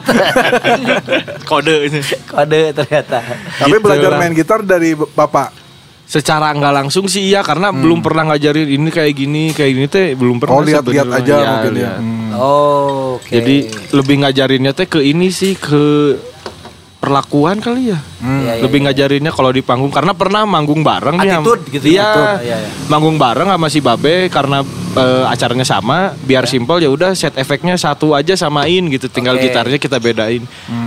Speaker 3: <laughs> Kode ini.
Speaker 1: Kode ternyata.
Speaker 2: Tapi
Speaker 3: Gitu
Speaker 2: belajar
Speaker 3: lah.
Speaker 2: main gitar dari b- bapak.
Speaker 3: Secara nggak langsung sih iya karena belum pernah ngajarin ini kayak gini kayak gini teh belum pernah.
Speaker 2: Hmm. Oh lihat-lihat
Speaker 3: sebenarnya.
Speaker 2: aja
Speaker 3: Iya,
Speaker 2: mungkin ya.
Speaker 3: lihat.
Speaker 2: Hmm.
Speaker 1: Oh, Oke.
Speaker 3: Jadi lebih ngajarinnya teh ke ini sih ke perlakuan kali ya.
Speaker 1: Ya, ya,
Speaker 3: lebih
Speaker 1: ya.
Speaker 3: ngajarinnya kalau di panggung karena pernah manggung bareng nih sama-
Speaker 1: Attitude gitu ya,
Speaker 3: Iya,
Speaker 1: attitude. Iya, iya.
Speaker 3: manggung bareng sama si Babe karena eh, acaranya sama biar simpel ya udah set efeknya satu aja samain gitu tinggal
Speaker 1: Iya. Oke. Hmm.
Speaker 3: gitarnya kita bedain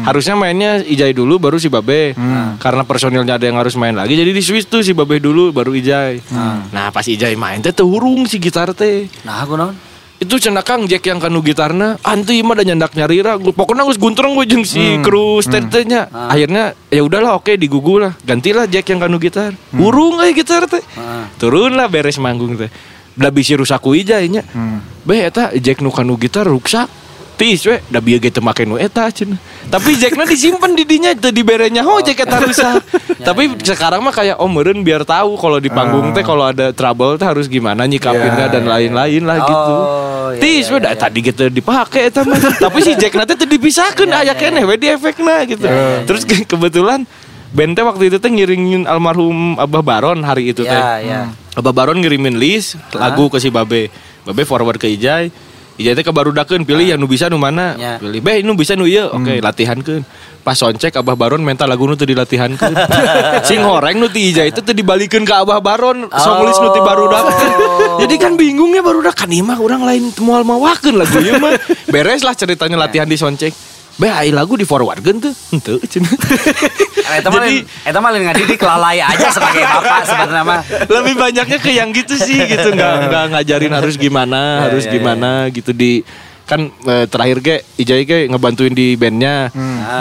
Speaker 3: harusnya mainnya Ijai dulu baru si Babe Nah, karena personilnya ada yang harus main lagi jadi di switch tuh si Babe dulu baru Ijai
Speaker 1: Hmm.
Speaker 3: nah pas Ijai main teh teu hurung si gitar teh
Speaker 1: Nah, aku non.
Speaker 3: itu cenakang Jack yang kanu gitarna anti mah dan nyandak nyarira Gua- pokoknya gue guntreng gue jeung si kru tetenya akhirnya ya udahlah oke digugu lah gantilah Jack yang kanu gitar burung aja gitar teh
Speaker 1: Ah.
Speaker 3: turunlah beres manggung teh da bisi rusaku ijanya
Speaker 2: Hmm.
Speaker 3: beh eta Jack nu kanu gitar ruksak tis we da bieu ge teu make nu eta cenah tapi Jackna disimpan di dinya teu diberenya ho Jack
Speaker 1: <laughs>
Speaker 3: eta rusak tapi sekarang mah kayak oh meureun biar tahu kalau di panggung teh kalau ada trouble teh harus gimana nyikapinnya dan lain-lain lah
Speaker 1: Oh,
Speaker 3: gitu.
Speaker 1: iya,
Speaker 3: Tis,
Speaker 1: iya,
Speaker 3: we da- tadi gitu dipakai eta
Speaker 1: <laughs>
Speaker 3: mah. Tapi si Jack nanti teu dipisahkeun
Speaker 1: Iya,
Speaker 3: aya keneh we di efekna gitu. Terus ke- kebetulan Bente waktu itu teh ngiringin almarhum Abah Baron hari itu teh.
Speaker 1: Ya, ya.
Speaker 3: Abah Baron ngirimin list
Speaker 1: Ah.
Speaker 3: lagu ke si Babe. Babe forward ke Ijay. Ijay teh kebarudakeun pilih yang nu bisa nu
Speaker 1: Ah.
Speaker 3: mana.
Speaker 1: Ya. Hmm.
Speaker 3: Pilih beh nu bisa nu ieu. Oke, latihankeun. Pas soncek Abah Baron minta lagu nu teu
Speaker 1: <laughs>
Speaker 3: dilatihankeun. Sing horeng nu ti Ijay itu teu dibalikeun ke Abah Baron,
Speaker 1: Oh.
Speaker 3: songlist nu ti barudak. Jadi kan bingungnya barudak kan ieu mah urang lain moal mawakeun lagu ieu mah. Beres lah ceritanya latihan di soncek. Beh, ai lagu di forwardkeun teu. Henteu cenah. <laughs>
Speaker 1: Ah. Eta mah lain- eta mah lain ngadidik lalai aja sebagai bapak sebenarnya mah.
Speaker 3: lebih banyaknya ke yang gitu sih gitu nggak nggak ngajarin harus gimana harus gimana gitu di kan eh, terakhir ge Ijai ge ngebantuin di bandnya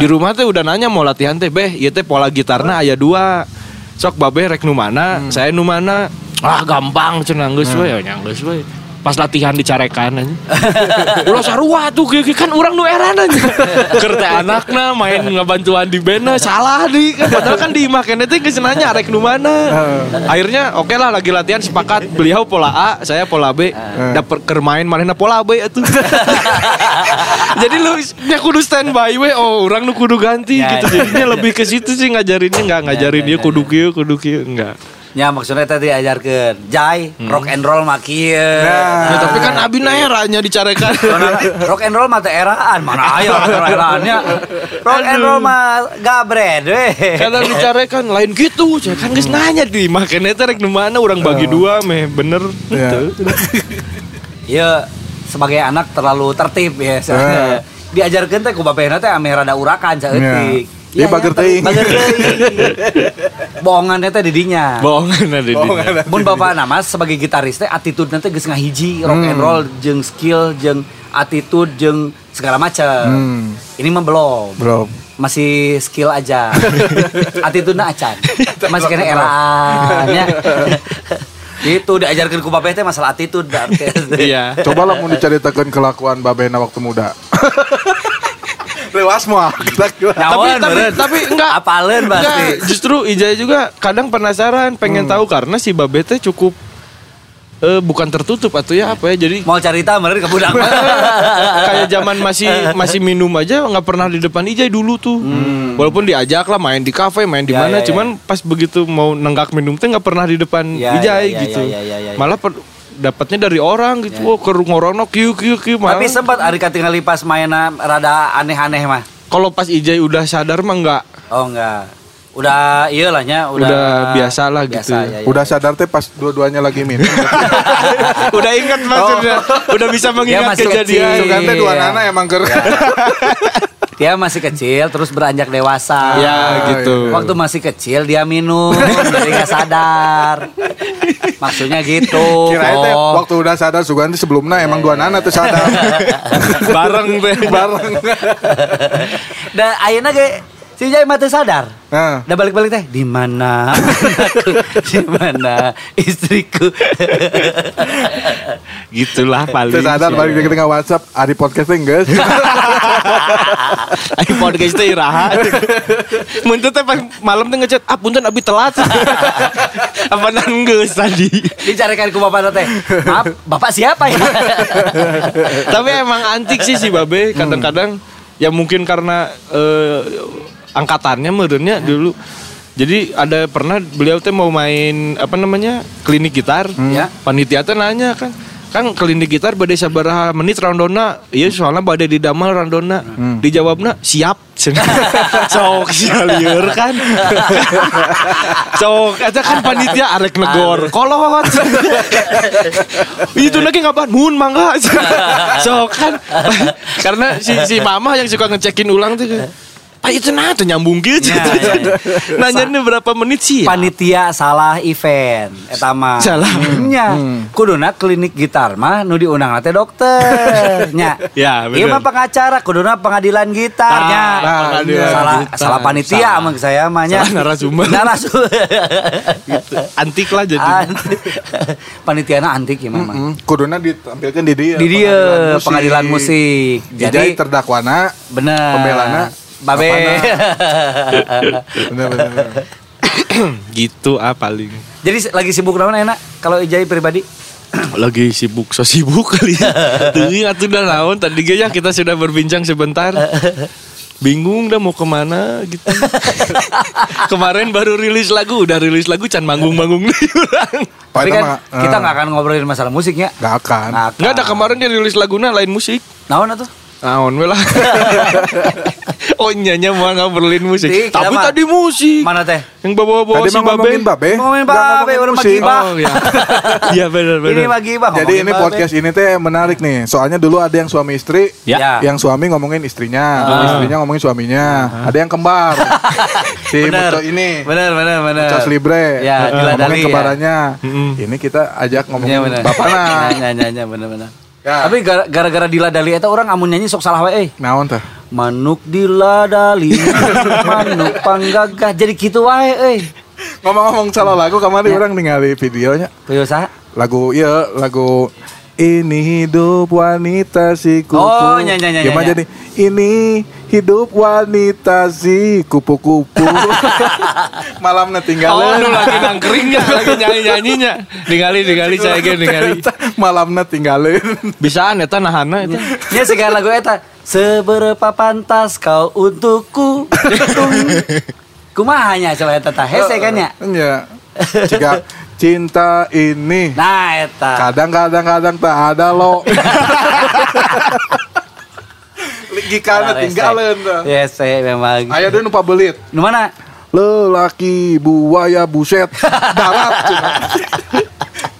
Speaker 3: di rumah teh udah nanya mau latihan teh beh iya teh pola gitarna aya dua sok babe rek nu mana saya nu mana ah gampang cenah geus we nya geus we pas latihan dicarekan anjing. Ulah sarua tuh kieu kan urang nu eran anjing. Keur teh anakna main ngabantuan di bandna salah di kan padahal kan di imah keneh teh geus nanya arek nu mana. Akhirnya oke lah lagi latihan sepakat beliau pola A, saya pola B. Dapat kermain manehna pola B
Speaker 1: <laughs>
Speaker 3: atuh. Jadi lu nya kudu standby we oh urang nu kudu ganti
Speaker 1: Ya,
Speaker 3: gitu.
Speaker 1: ya,
Speaker 3: Jadinya lebih ke situ sih ngajarinnya enggak ngajarin dia kudu kieu kudu kieu enggak.
Speaker 1: Ya maksudnya tadi ajarkan Jai rock and roll mah kieu.
Speaker 2: Nah.
Speaker 3: Ya, tapi kan abi naeranya dicarekan.
Speaker 1: <laughs> Mana- rock and roll mah teh eraan mana aya rock and roll eraannya. Rock and roll mah gabred weh.
Speaker 3: Kadang dicarekan lain gitu, saya kan geus nanya di makanya teh rek nu mana urang bagi dua meh bener.
Speaker 2: Iya.
Speaker 3: Henteu.
Speaker 1: Ya sebagai anak terlalu tertib ya.
Speaker 2: Eh.
Speaker 1: Diajarkan teh ku bapena teh ame rada urakan saeutik.
Speaker 2: Ya. Dia bager teuing.
Speaker 1: Bager
Speaker 2: <laughs>
Speaker 1: teuing. Bohongannya teh didinya.
Speaker 3: Bohongan Oh, ada di.
Speaker 1: Mun bapak nama sebagai gitaris teh attitude nanti geus ngahiji
Speaker 3: Hmm.
Speaker 1: rock and roll jeung skill jeung attitude jeung segala macam.
Speaker 3: Hmm.
Speaker 1: Ini mah belum.
Speaker 3: <laughs>
Speaker 2: Bro.
Speaker 1: Masih skill aja. Attitude-na acan. Masih kena eraan
Speaker 3: <laughs>
Speaker 1: ya. Itu diajarkan ku bapak teh masalah attitude. da.
Speaker 3: <laughs> Iya.
Speaker 2: Coba lah mau diceritakan kelakuan Babena waktu
Speaker 3: <laughs>
Speaker 2: muda. Lewas mah. Nah,
Speaker 3: Tapi
Speaker 1: Nyawan
Speaker 3: tapi
Speaker 1: beureun.
Speaker 3: tapi enggak
Speaker 1: Apaleun pasti.
Speaker 3: Enggak, justru Ijay juga kadang penasaran, pengen tahu karena si Babete cukup eh, bukan tertutup atau ya apa ya. Jadi
Speaker 1: Mau cerita meureun ke budak.
Speaker 3: <laughs>
Speaker 1: <laughs>
Speaker 3: kayak zaman masih masih minum aja nggak pernah di depan Ijay dulu tuh. Walaupun diajak lah main di kafe, main di
Speaker 1: Hmm. Ya,
Speaker 3: mana,
Speaker 1: ya, ya.
Speaker 3: cuman pas begitu mau nenggak minum teh nggak pernah di depan
Speaker 1: Ya, ya,
Speaker 3: Ijay
Speaker 1: ya,
Speaker 3: gitu.
Speaker 1: ya, ya, ya, ya.
Speaker 3: Malah per- dapatnya dari orang gitu. Oh, ke ngorono kieu kieu kieu malah.
Speaker 1: Tapi sempat hari katingali pas mainan rada aneh-aneh mah.
Speaker 3: Kalau pas Ijay udah sadar mah
Speaker 1: <laughs>
Speaker 3: nggak
Speaker 1: Oh enggak. Udah iya lah nya, udah,
Speaker 3: Udah biasa lah gitu.
Speaker 1: ya, ya.
Speaker 2: Udah sadar teh pas dua-duanya lagi
Speaker 3: <laughs>
Speaker 2: minum.
Speaker 3: udah ingat maksudnya. Oh. Udah bisa mengingat
Speaker 1: masih kan?
Speaker 3: kejadian.
Speaker 1: kecil.
Speaker 2: Sugan teh dua
Speaker 1: Iya.
Speaker 2: nana emang ker.
Speaker 1: dia masih kecil terus beranjak dewasa.
Speaker 3: Ya gitu.
Speaker 1: Waktu masih kecil dia minum, jadi nggak sadar. Maksudnya gitu.
Speaker 2: <laughs> Kirain teh
Speaker 3: Oh.
Speaker 1: Kok.
Speaker 2: waktu udah sadar Sugandi sebelumnya emang
Speaker 3: Iya,
Speaker 2: dua nana tuh
Speaker 3: <laughs>
Speaker 2: sadar.
Speaker 3: Bareng teh.
Speaker 2: Bareng.
Speaker 1: Dan akhirnya ge si Jai mati sadar.
Speaker 2: Nah.
Speaker 1: Udah balik-balik teh di mana anakku? di mana istriku?
Speaker 3: Gitulah paling.
Speaker 2: Terus sadar
Speaker 3: iya.
Speaker 2: balik kita nggak WhatsApp, ada podcastnya enggak?
Speaker 3: Ayo podcast teh iraha. Mun teh pas malam teh ngechat, "Ah punten abi telat." Apa nanggeus tadi?
Speaker 1: Dicarikan ku bapak teh. Maaf, bapak siapa ya?
Speaker 3: Tapi emang antik sih si Babe kadang-kadang ya mungkin karena eh, angkatannya merenya dulu. Jadi ada pernah beliau teh mau main apa namanya? klinik gitar.
Speaker 1: Ya.
Speaker 3: Panitia teh nanya kan Kang klinik gitar badai sabaraha menit randona Iya soalnya badai di damel randona Dijawabna siap <laughs> Sok sialieur kan Sok Eta kan panitia arek negor Kolot Itu lagi ngapain Mun mangga Sok kan Karena si, si mama yang suka ngecekin ulang tuh kan, Ah itu nah tuh nyambung gitu
Speaker 1: Ya, ya, ya.
Speaker 3: Nanya nih berapa menit sih ya?
Speaker 1: Panitia salah event etama.
Speaker 3: Iya. Salah. Hmm.
Speaker 1: Nya. Kuduna klinik gitar mah nu diundang teh
Speaker 3: <laughs>
Speaker 1: dokter. Nya.
Speaker 3: Ya,
Speaker 1: Ieu mah
Speaker 3: bener.
Speaker 1: pengacara kuduna pengadilan gitar
Speaker 3: Ah,
Speaker 1: nya.
Speaker 3: pengadilan
Speaker 1: salah
Speaker 3: gitar.
Speaker 1: salah panitia
Speaker 3: Salah.
Speaker 1: amang saya mah nya.
Speaker 3: Salah narasumber.
Speaker 1: <laughs> Narasumber.
Speaker 3: Antik lah jadi
Speaker 1: Antik. <laughs> Panitiana antik ya
Speaker 2: Hmm,
Speaker 1: memang.
Speaker 2: Kuduna ditampilkan di dia.
Speaker 1: Di dia, pengadilan musik.
Speaker 2: Jadi
Speaker 1: Jadi-
Speaker 2: terdakwana.
Speaker 1: Bener.
Speaker 2: Pembelana.
Speaker 1: Babe.
Speaker 2: Bener, bener, bener.
Speaker 3: <clears throat> gitu ah paling
Speaker 1: <laughs> Jadi lagi sibuk naon enak kalau Ijai pribadi?
Speaker 3: <clears throat> lagi sibuk so sibuk kali ya Teuing atuh udah naon tadi ge ya kita sudah berbincang sebentar bingung dah mau kemana gitu kemarin baru rilis lagu udah rilis lagu can manggung manggung nih orang
Speaker 2: Pak,
Speaker 1: <laughs> Tapi
Speaker 2: itu
Speaker 1: kan
Speaker 2: mah, eh,
Speaker 1: kita nggak Nah, akan ngobrolin masalah musiknya.
Speaker 2: nggak akan.
Speaker 3: nggak ada kemarin dia rilis laguna lain musik
Speaker 1: Naon atuh?
Speaker 3: naon we lah oh nyanya mau ngobrolin musik
Speaker 1: Ih,
Speaker 3: tapi
Speaker 1: kenapa?
Speaker 3: tadi musik
Speaker 1: Mana teh?
Speaker 3: yang bawa bawa
Speaker 2: Tadi
Speaker 3: si
Speaker 2: mah ngomongin
Speaker 3: babe
Speaker 2: babe.
Speaker 1: Ngomongin
Speaker 2: nggak
Speaker 1: babe,
Speaker 2: ngomongin
Speaker 1: orang
Speaker 2: musik.
Speaker 1: Babe.
Speaker 3: oh
Speaker 1: <laughs>
Speaker 3: ya iya benar
Speaker 1: Ini
Speaker 3: benar
Speaker 1: bagi Bang.
Speaker 2: Jadi ini
Speaker 1: ngomongin
Speaker 2: podcast ini teh menarik nih. Soalnya dulu ada yang suami istri,
Speaker 3: Ya.
Speaker 1: Ya. Ah.
Speaker 2: yang suami ngomongin istrinya, istrinya ngomongin suaminya. Ada yang
Speaker 1: <laughs>
Speaker 2: kembar. si
Speaker 1: Bener.
Speaker 2: Muco ini.
Speaker 1: Bener bener bener.
Speaker 2: Cas Libre.
Speaker 1: Ya, diladali
Speaker 2: ngomongin
Speaker 1: ya.
Speaker 2: kembarannya.
Speaker 3: Mm-mm.
Speaker 2: Ini kita ajak
Speaker 1: Iya
Speaker 2: ngomongin
Speaker 1: bener. <laughs> nah.
Speaker 2: bapana.
Speaker 1: Nya nya nya bener bener.
Speaker 2: Ya.
Speaker 1: Tapi gara- gara-gara diladali eta orang amun nyanyi sok salah wae euy.
Speaker 2: Naon teh?
Speaker 1: Manuk diladali, <laughs> manuk panggagah. Jadi gitu wae euy.
Speaker 2: Ngomong-ngomong salah lagu kemarin
Speaker 1: Ya.
Speaker 2: orang ningali videonya.
Speaker 1: Puyuh saha?
Speaker 2: Lagu iya, lagu ini hidup wanita si kupu.
Speaker 1: Oh, nya, nya, nya,
Speaker 2: Gimana
Speaker 1: nya, nya.
Speaker 2: jadi? Ini hidup wanita si
Speaker 1: <laughs>
Speaker 2: kupu-kupu. Malam
Speaker 3: Oh,
Speaker 2: tinggalin.
Speaker 3: nu lagi nangkringnya, lagi nyanyi-nyanyinya. Ningali, ningali, saya ge
Speaker 2: <laughs>
Speaker 3: ningali.
Speaker 2: Malamnya
Speaker 1: <laughs>
Speaker 2: tinggalin.
Speaker 3: Bisaan eta nahana eta.
Speaker 1: Ya segala lagu eta Seberapa pantas kau
Speaker 2: <laughs>
Speaker 1: untukku Tung. Kumaha nya coba eta tah hese kan ya
Speaker 2: Iya. Jika cinta ini
Speaker 1: Nah eta
Speaker 2: kadang-kadang kadang tak ada
Speaker 1: <laughs>
Speaker 2: lo. Lagi karena tinggalin.
Speaker 1: Nah, Yes memang
Speaker 2: Ayo deh numpa belit.
Speaker 1: Nu mana
Speaker 2: Lelaki buaya <laughs> buset darat. cina.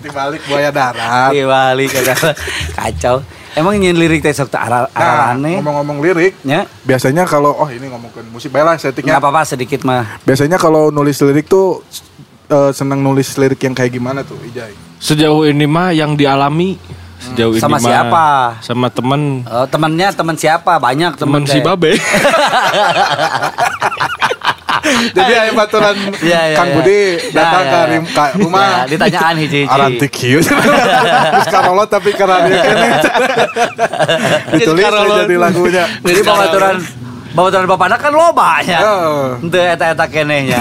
Speaker 2: Dibalik buaya darat.
Speaker 1: Di Bali kacau. Kacau Emang nyin lirik teh sok teu aral
Speaker 2: Nah,
Speaker 1: arane
Speaker 2: ngomong-ngomong lirik,
Speaker 1: Nya
Speaker 2: biasanya kalau oh ini ngomongin musik baiklah
Speaker 1: Enggak
Speaker 2: settingnya.
Speaker 1: Ya? apa-apa sedikit mah
Speaker 2: Biasanya kalau nulis lirik tuh eh, senang nulis lirik yang kayak gimana tuh Ijai?
Speaker 3: Sejauh ini mah yang dialami sejauh ini
Speaker 1: Sama
Speaker 3: mah
Speaker 1: siapa?
Speaker 3: Sama teman
Speaker 1: Eh, Temennya teman siapa banyak teman
Speaker 3: teman si
Speaker 1: <laughs>
Speaker 3: Babe.
Speaker 1: <laughs>
Speaker 2: Jadi ayo baturan
Speaker 1: Iya, iya,
Speaker 2: Kang
Speaker 1: iya.
Speaker 2: Budi
Speaker 1: Ya,
Speaker 2: datang
Speaker 1: ya,
Speaker 2: ke
Speaker 1: ya.
Speaker 2: rim- ke rumah.
Speaker 1: Ya,
Speaker 2: <laughs>
Speaker 1: ditanyaan hiji-hiji.
Speaker 2: Arantik kieu. <laughs> Terus karolo tapi karena dia kene.
Speaker 1: <laughs>
Speaker 2: Ditulis
Speaker 3: Jadi karolo.
Speaker 2: jadi lagunya. Iya.
Speaker 1: Jadi babaturan Babaturan bapana kan loba nya
Speaker 2: Heeh.
Speaker 1: Henteu eta-eta keneh
Speaker 2: <laughs>
Speaker 1: nya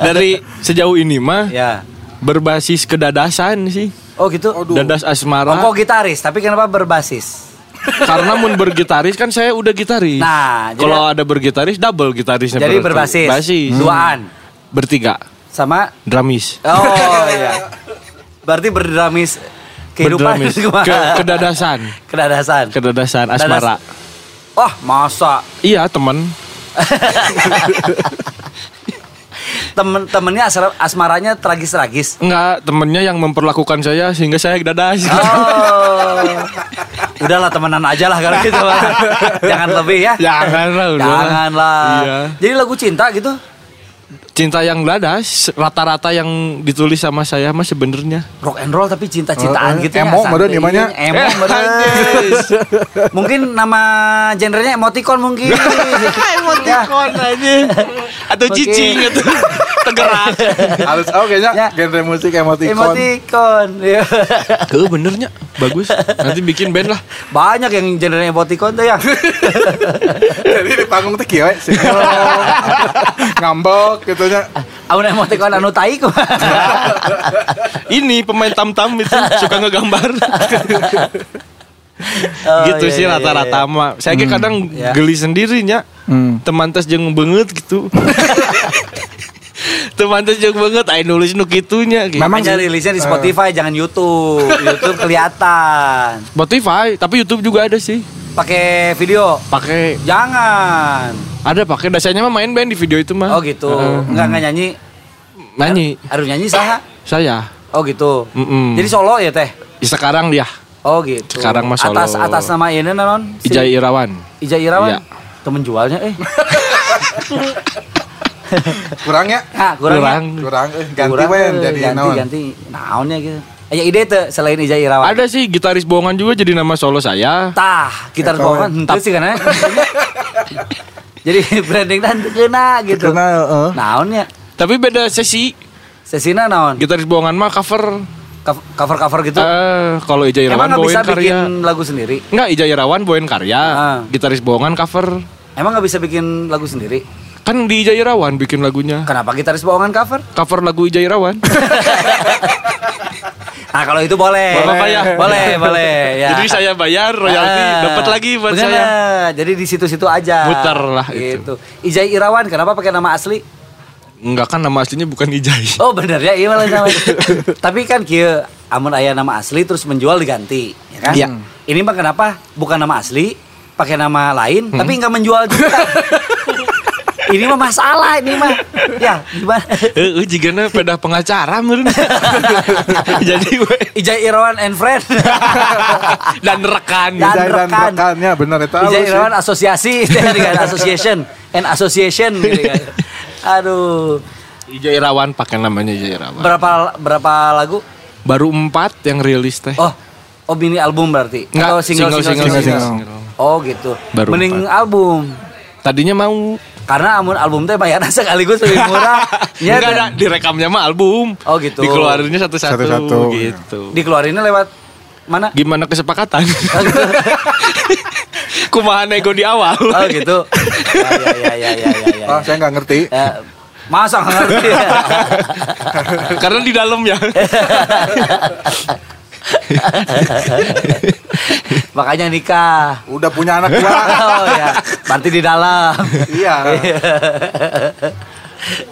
Speaker 3: Dari sejauh ini mah
Speaker 1: Ya
Speaker 3: berbasis kedadasan sih.
Speaker 1: Oh gitu
Speaker 2: Aduh.
Speaker 3: Dadas asmara.
Speaker 1: Ongko gitaris, tapi kenapa berbasis?
Speaker 3: <laughs> Karena mun bergitaris kan saya udah gitaris.
Speaker 1: Nah, jadi-
Speaker 3: kalau ada bergitaris double gitarisnya.
Speaker 1: Jadi
Speaker 3: berarti.
Speaker 1: berbasis, Hmm.
Speaker 3: Basis.
Speaker 1: duaan
Speaker 2: Hmm.
Speaker 3: Bertiga.
Speaker 1: sama
Speaker 3: Dramis.
Speaker 1: <laughs> oh iya. Berarti berdramis kehidupan <laughs>
Speaker 3: Berdramis.
Speaker 1: kumaha?
Speaker 3: Ke, kedadasan.
Speaker 1: kedadasan.
Speaker 3: Kedadasan asmara.
Speaker 1: Dadas- Wah, masa
Speaker 3: Iya, teman.
Speaker 1: temen-temennya asra- asmaranya tragis-tragis. Ah.
Speaker 3: Enggak, temennya yang memperlakukan saya sehingga saya dadas.
Speaker 1: Oh. udahlah temenan aja lah kalau gitu Bang. jangan lebih ya
Speaker 3: Jangan lah, udah.
Speaker 1: janganlah
Speaker 3: Iya.
Speaker 1: jadi lagu cinta gitu
Speaker 3: Cinta yang dadas rata-rata yang ditulis sama saya mah sebenarnya.
Speaker 1: rock and roll tapi cinta-cintaan
Speaker 3: Oh,
Speaker 2: Eh, eh,
Speaker 1: gitu ya
Speaker 2: emo
Speaker 1: santai.
Speaker 2: meureun ieu mah nya.
Speaker 1: emo
Speaker 3: Eh. <laughs>
Speaker 1: meureun. mungkin nama genrenya emoticon mungkin
Speaker 3: <laughs>
Speaker 1: Ya.
Speaker 3: Emoticon aja. Atau
Speaker 1: Oke.
Speaker 3: cicing <laughs> gitu. Tegerak.
Speaker 2: Harus oh kayaknya
Speaker 1: Ya.
Speaker 2: genre musik emoticon.
Speaker 1: emoticon Iya.
Speaker 3: Tuh benernya bagus. Nanti bikin band lah.
Speaker 1: <laughs> banyak yang genrenya emoticon tuh <laughs> ya
Speaker 2: Jadi di panggung teh kieu we,
Speaker 1: <laughs>
Speaker 2: sinkron, ngambek gitu nya.
Speaker 1: anu emoticon anu tai <laughs> ku.
Speaker 3: Ini pemain tam-tam itu suka ngegambar.
Speaker 1: <laughs> Oh,
Speaker 3: gitu
Speaker 1: iya,
Speaker 3: sih
Speaker 1: iya, iya.
Speaker 3: rata-rata mah. Saya kayak kadang
Speaker 1: Iya.
Speaker 3: geli sendirinya.
Speaker 2: Hmm.
Speaker 3: Teman tes jeung beungeut
Speaker 1: <laughs>
Speaker 3: gitu. Teman tes jeung beungeut aya nulis nu kitunya gitu.
Speaker 2: Memang
Speaker 1: Makanya rilisnya di Spotify jangan YouTube <laughs> YouTube kelihatan
Speaker 3: Spotify, tapi YouTube juga ada sih.
Speaker 1: pakai video
Speaker 3: Pakai
Speaker 1: jangan
Speaker 3: ada pakai dasarnya mah main band di video itu mah. Eh,
Speaker 1: oh gitu nggak nggak nyanyi
Speaker 3: Nyanyi
Speaker 1: harus nyanyi saha
Speaker 3: saya.
Speaker 1: oh gitu
Speaker 3: Mm-mm.
Speaker 1: jadi solo ya teh
Speaker 3: Sekarang dia
Speaker 1: Oh gitu.
Speaker 3: Sekarang mah solo.
Speaker 1: Atas atas nama ini non.
Speaker 3: Ijai Irawan.
Speaker 1: Ijai Irawan.
Speaker 3: Iya.
Speaker 1: Temen jualnya
Speaker 3: <laughs>
Speaker 1: eh.
Speaker 2: Kurang ya?
Speaker 1: Nah, kurang.
Speaker 3: Kurang.
Speaker 2: Kurang eh, ganti
Speaker 1: Kurang,
Speaker 2: wen
Speaker 1: eh,
Speaker 2: jadi
Speaker 1: ganti,
Speaker 2: naon.
Speaker 1: ganti naonnya gitu. Aya ide tuh selain Ijai Irawan.
Speaker 3: Ada sih gitaris bohongan juga jadi nama solo saya.
Speaker 1: Tah, kita
Speaker 2: Eta
Speaker 1: bohongan
Speaker 2: we.
Speaker 3: Iya
Speaker 1: henteu sih
Speaker 3: kan,
Speaker 1: karena.
Speaker 3: eh?
Speaker 1: <laughs> Jadi branding dan kena gitu.
Speaker 2: Karena heeh.
Speaker 1: Naonnya.
Speaker 3: Tapi beda sesi.
Speaker 1: Sesina naon?
Speaker 3: Gitaris bohongan mah cover.
Speaker 1: Cover-cover gitu.
Speaker 3: Gitu. Eh, ya. kalau Ija
Speaker 1: Emang
Speaker 3: Irawan
Speaker 1: nggak bisa
Speaker 3: bawain karya.
Speaker 1: bikin lagu sendiri?
Speaker 3: Enggak, Ija Irawan bawain karya.
Speaker 1: Ah.
Speaker 3: Gitaris bohongan cover.
Speaker 1: Emang nggak bisa bikin lagu sendiri?
Speaker 3: Kan di Ija Irawan bikin lagunya.
Speaker 1: Kenapa gitaris bohongan cover?
Speaker 3: Cover lagu Ija
Speaker 1: <laughs>
Speaker 3: Irawan.
Speaker 1: Nah kalau itu boleh,
Speaker 3: Boleh, Pak, ya.
Speaker 1: boleh,
Speaker 3: <laughs>
Speaker 1: boleh. Ya.
Speaker 3: Jadi saya bayar royalti,
Speaker 1: Ah,
Speaker 3: dapat lagi buat
Speaker 1: bener.
Speaker 3: saya.
Speaker 1: Jadi di situ-situ aja.
Speaker 3: Muter lah
Speaker 1: gitu. Ijai Irawan kenapa pakai nama asli?
Speaker 3: Enggak kan nama aslinya bukan
Speaker 1: <laughs>
Speaker 3: Ijai.
Speaker 1: Oh bener ya, iya malah sama. Tapi kan kieu amun aya nama asli terus menjual diganti, ya kan?
Speaker 3: Iya.
Speaker 1: Ini mah kenapa bukan nama asli, pakai nama lain
Speaker 3: Hmm.
Speaker 1: tapi nggak menjual juga. ini mah masalah ini mah. Ya, gimana?
Speaker 3: Eh, eh, jigana peda
Speaker 1: <laughs>
Speaker 3: pengacara meureun. <laughs> Jadi <laughs> we.
Speaker 1: Ijai Irawan and friend.
Speaker 3: dan rekan.
Speaker 1: Dan
Speaker 2: Ijai dan
Speaker 1: rekan.
Speaker 2: rekannya benar itu
Speaker 1: Ijai Irawan asosiasi, <laughs> gitu kan, association and association gitu kan. Aduh.
Speaker 3: Ija Irawan pakai namanya Ija Irawan.
Speaker 1: Berapa berapa lagu?
Speaker 3: Baru empat yang rilis teh.
Speaker 1: Oh, oh mini album berarti.
Speaker 3: Nggak,
Speaker 1: Atau single single, single,
Speaker 2: single,
Speaker 1: single. Oh gitu.
Speaker 3: Baru
Speaker 1: Mending
Speaker 3: empat.
Speaker 1: album.
Speaker 3: Tadinya mau
Speaker 1: Karena amun album teh bayarnya <laughs> sekaligus lebih murah. Iya,
Speaker 3: Enggak ada
Speaker 1: kan?
Speaker 3: direkamnya mah album.
Speaker 1: Oh, gitu.
Speaker 3: Dikeluarinnya satu-satu,
Speaker 2: Satu-satu.
Speaker 3: gitu.
Speaker 1: Dikeluarinnya lewat mana?
Speaker 3: Gimana kesepakatan? <laughs>
Speaker 1: Oh gitu.
Speaker 3: Kumaha nego di awal.
Speaker 1: <laughs> Oh gitu. Ya ya ya ya ya ya. ya.
Speaker 2: Ah, saya nggak ngerti.
Speaker 1: Eh, masa nggak ngerti?
Speaker 3: <laughs>
Speaker 1: ya?
Speaker 3: Karena di dalam
Speaker 1: <laughs>
Speaker 3: ya.
Speaker 1: Makanya nikah.
Speaker 2: Udah punya anak dua.
Speaker 1: <laughs> Oh ya, berarti di dalam.
Speaker 2: Iya.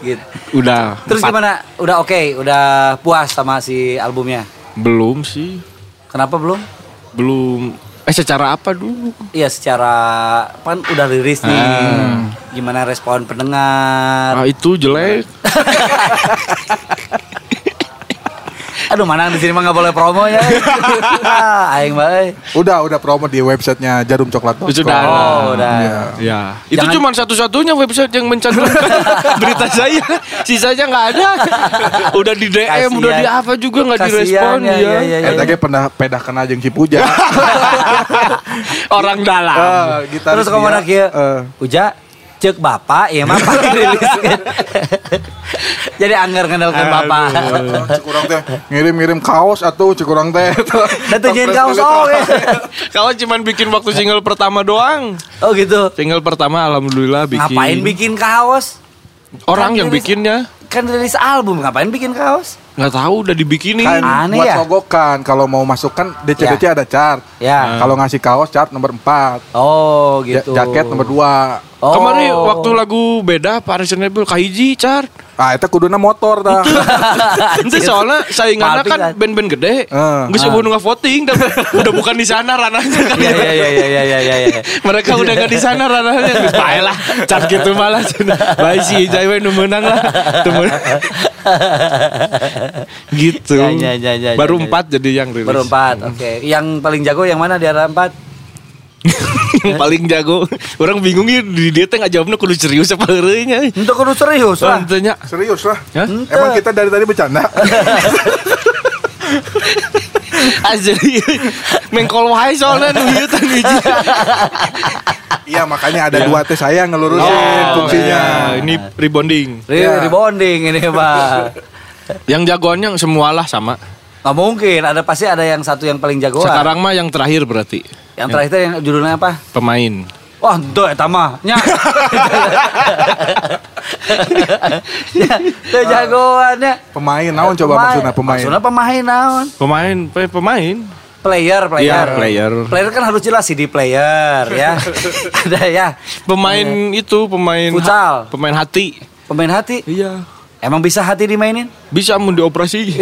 Speaker 1: gitu.
Speaker 3: Udah.
Speaker 1: Terus
Speaker 3: empat.
Speaker 1: gimana? Udah oke, udah puas sama si albumnya.
Speaker 3: Belum sih.
Speaker 1: Kenapa belum?
Speaker 3: Belum. Eh secara apa dulu?
Speaker 1: Iya secara kan udah rilis nih. Hmm. Gimana respon pendengar?
Speaker 3: Ah, itu jelek.
Speaker 1: Ah. Aduh mana di sini mah nggak boleh promo ya. <laughs> Ah, Aing bae.
Speaker 2: Udah, udah promo di websitenya Jarum Coklat.
Speaker 3: Sudah.
Speaker 1: Oh, udah.
Speaker 2: Iya.
Speaker 3: Ya, itu
Speaker 1: Jangan-
Speaker 3: cuma satu-satunya website yang mencantumkan berita saya. Sisanya nggak ada. Udah di DM,
Speaker 1: Kasian.
Speaker 3: udah di apa juga nggak
Speaker 1: Kasian,
Speaker 3: direspon
Speaker 1: ya,
Speaker 3: ya.
Speaker 1: ya, ya.
Speaker 2: Eta ge Eh, pernah pedah kena jeung Cipuja.
Speaker 1: Nah.
Speaker 3: Orang dalam.
Speaker 2: <laughs> Eh, gitaris
Speaker 1: Terus kamu
Speaker 2: dia,
Speaker 1: nak ya?
Speaker 2: eh,
Speaker 1: Uja cek bapak ya mah <laughs> pasti rilis. Jadi anggar ngandalkan bapak.
Speaker 2: Oh, Cikurang teh ngirim-ngirim kaos atau Cikurang
Speaker 1: <laughs>
Speaker 2: teh.
Speaker 1: Dan tujuin kaos oh ya.
Speaker 3: Kalau cuma bikin waktu single pertama doang.
Speaker 1: Oh gitu.
Speaker 3: Single pertama alhamdulillah bikin.
Speaker 1: Ngapain bikin kaos?
Speaker 3: Orang
Speaker 1: Kan
Speaker 3: yang
Speaker 1: rilis-
Speaker 3: bikinnya
Speaker 1: Kan rilis album ngapain bikin kaos?
Speaker 3: nggak tahu udah dibikinin.
Speaker 2: Kan
Speaker 1: Aneh
Speaker 2: buat
Speaker 1: ya?
Speaker 2: sogokan kalau mau masuk kan DC-DC ada chart.
Speaker 1: Ya.
Speaker 2: Kalau ngasih kaos chart nomor 4.
Speaker 1: Oh gitu.
Speaker 2: Jaket nomor 2.
Speaker 1: Oh.
Speaker 3: Kemarin waktu lagu beda Paris Rebel kahiji car.
Speaker 2: Ah, itu kuduna motor dah.
Speaker 3: Itu soalnya saingannya
Speaker 1: Palpi
Speaker 3: kan
Speaker 1: kan.
Speaker 3: band-band gede.
Speaker 2: Eh.
Speaker 3: Gue sebelum nggak voting, tapi udah bukan di sana ranahnya. kan.
Speaker 1: Iya iya iya iya iya iya iya.
Speaker 3: Mereka udah gak di sana ranahnya. Baiklah, cat gitu malah. Baik sih, Jaiwe nu menang lah. Temen. gitu.
Speaker 1: Ya, ya, ya, ya,
Speaker 3: Baru
Speaker 1: ya, ya.
Speaker 3: empat jadi yang rilis.
Speaker 1: Baru empat, oke. Yang paling jago yang mana di antara empat?
Speaker 3: <laughs> yang paling jago. Orang bingung ya di dia teh nggak jawabnya kudu serius apa heureunya.
Speaker 1: Untuk kudu serius lah.
Speaker 3: Orang
Speaker 1: <laughs>
Speaker 3: tanya,
Speaker 2: <laughs> Serius lah.
Speaker 1: Ya?
Speaker 3: Hah?
Speaker 2: Emang kita dari tadi bercanda.
Speaker 3: Asli mengkol wae soalnya nu ieu teh
Speaker 1: <laughs>
Speaker 3: hiji.
Speaker 2: Iya makanya
Speaker 1: Ya.
Speaker 2: ada dua teh saya ngelurusin
Speaker 1: Oh, iya.
Speaker 2: fungsinya.
Speaker 3: ya, ini rebonding.
Speaker 1: Re-
Speaker 2: Ya.
Speaker 1: Rebonding ini pak.
Speaker 3: Yang jagoannya semualah sama.
Speaker 1: Gak mungkin, ada pasti ada yang satu yang paling jagoan.
Speaker 3: Sekarang mah yang terakhir berarti
Speaker 1: yang terakhir itu yang judulnya apa?
Speaker 3: pemain.
Speaker 1: Wah, itu eta mah. Nya. Ya, teu jagoannya.
Speaker 2: Pemain naon Oh, coba maksudnya pemain.
Speaker 1: Maksudnya pemain naon?
Speaker 3: Pemain, pe- pemain.
Speaker 1: Player, player.
Speaker 3: Iya, player.
Speaker 1: Player kan harus jelas CD player ya. ada ya.
Speaker 3: Pemain itu pemain
Speaker 1: Iya. Futsal.
Speaker 3: pemain hati.
Speaker 1: Pemain hati.
Speaker 3: Iya.
Speaker 1: Emang bisa hati dimainin?
Speaker 3: Bisa mau
Speaker 1: <laughs>
Speaker 3: dioperasi.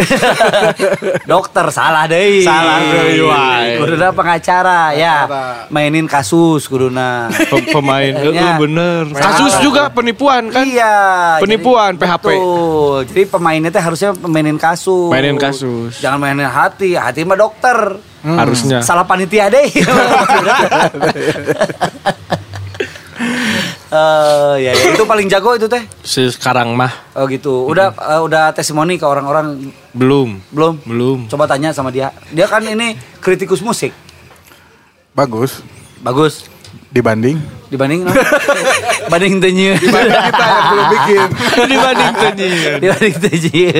Speaker 1: Dokter salah deh.
Speaker 3: Salah Iya, deui, wae.
Speaker 1: Kuduna pengacara ya. Mainin kasus kuduna.
Speaker 3: Pem- pemain eh,
Speaker 1: Iya.
Speaker 3: eh, bener. Kasus juga penipuan <laughs> kan?
Speaker 1: Iya.
Speaker 3: Penipuan, PHP.
Speaker 1: Betul. Jadi pemainnya teh harusnya mainin kasus.
Speaker 3: Mainin kasus. Hmm.
Speaker 1: Jangan mainin hati. Hati mah dokter.
Speaker 3: Harusnya.
Speaker 1: Salah panitia
Speaker 3: <laughs>
Speaker 1: deh. <laughs> Eh ya, ya, itu paling jago itu teh.
Speaker 3: Sekarang mah
Speaker 1: Oh gitu. Udah eh, udah testimoni ke orang-orang
Speaker 3: belum.
Speaker 1: belum?
Speaker 3: Hmm. Belum.
Speaker 1: Coba tanya sama dia. Dia kan ini kritikus musik.
Speaker 2: Bagus
Speaker 1: Bagus
Speaker 2: dibanding
Speaker 3: <laughs>
Speaker 1: dibanding no? banding tenyu.
Speaker 2: dibanding
Speaker 1: <laughs>
Speaker 2: kita yang belum bikin.
Speaker 3: Dibanding tadi.
Speaker 1: dibanding tenyu.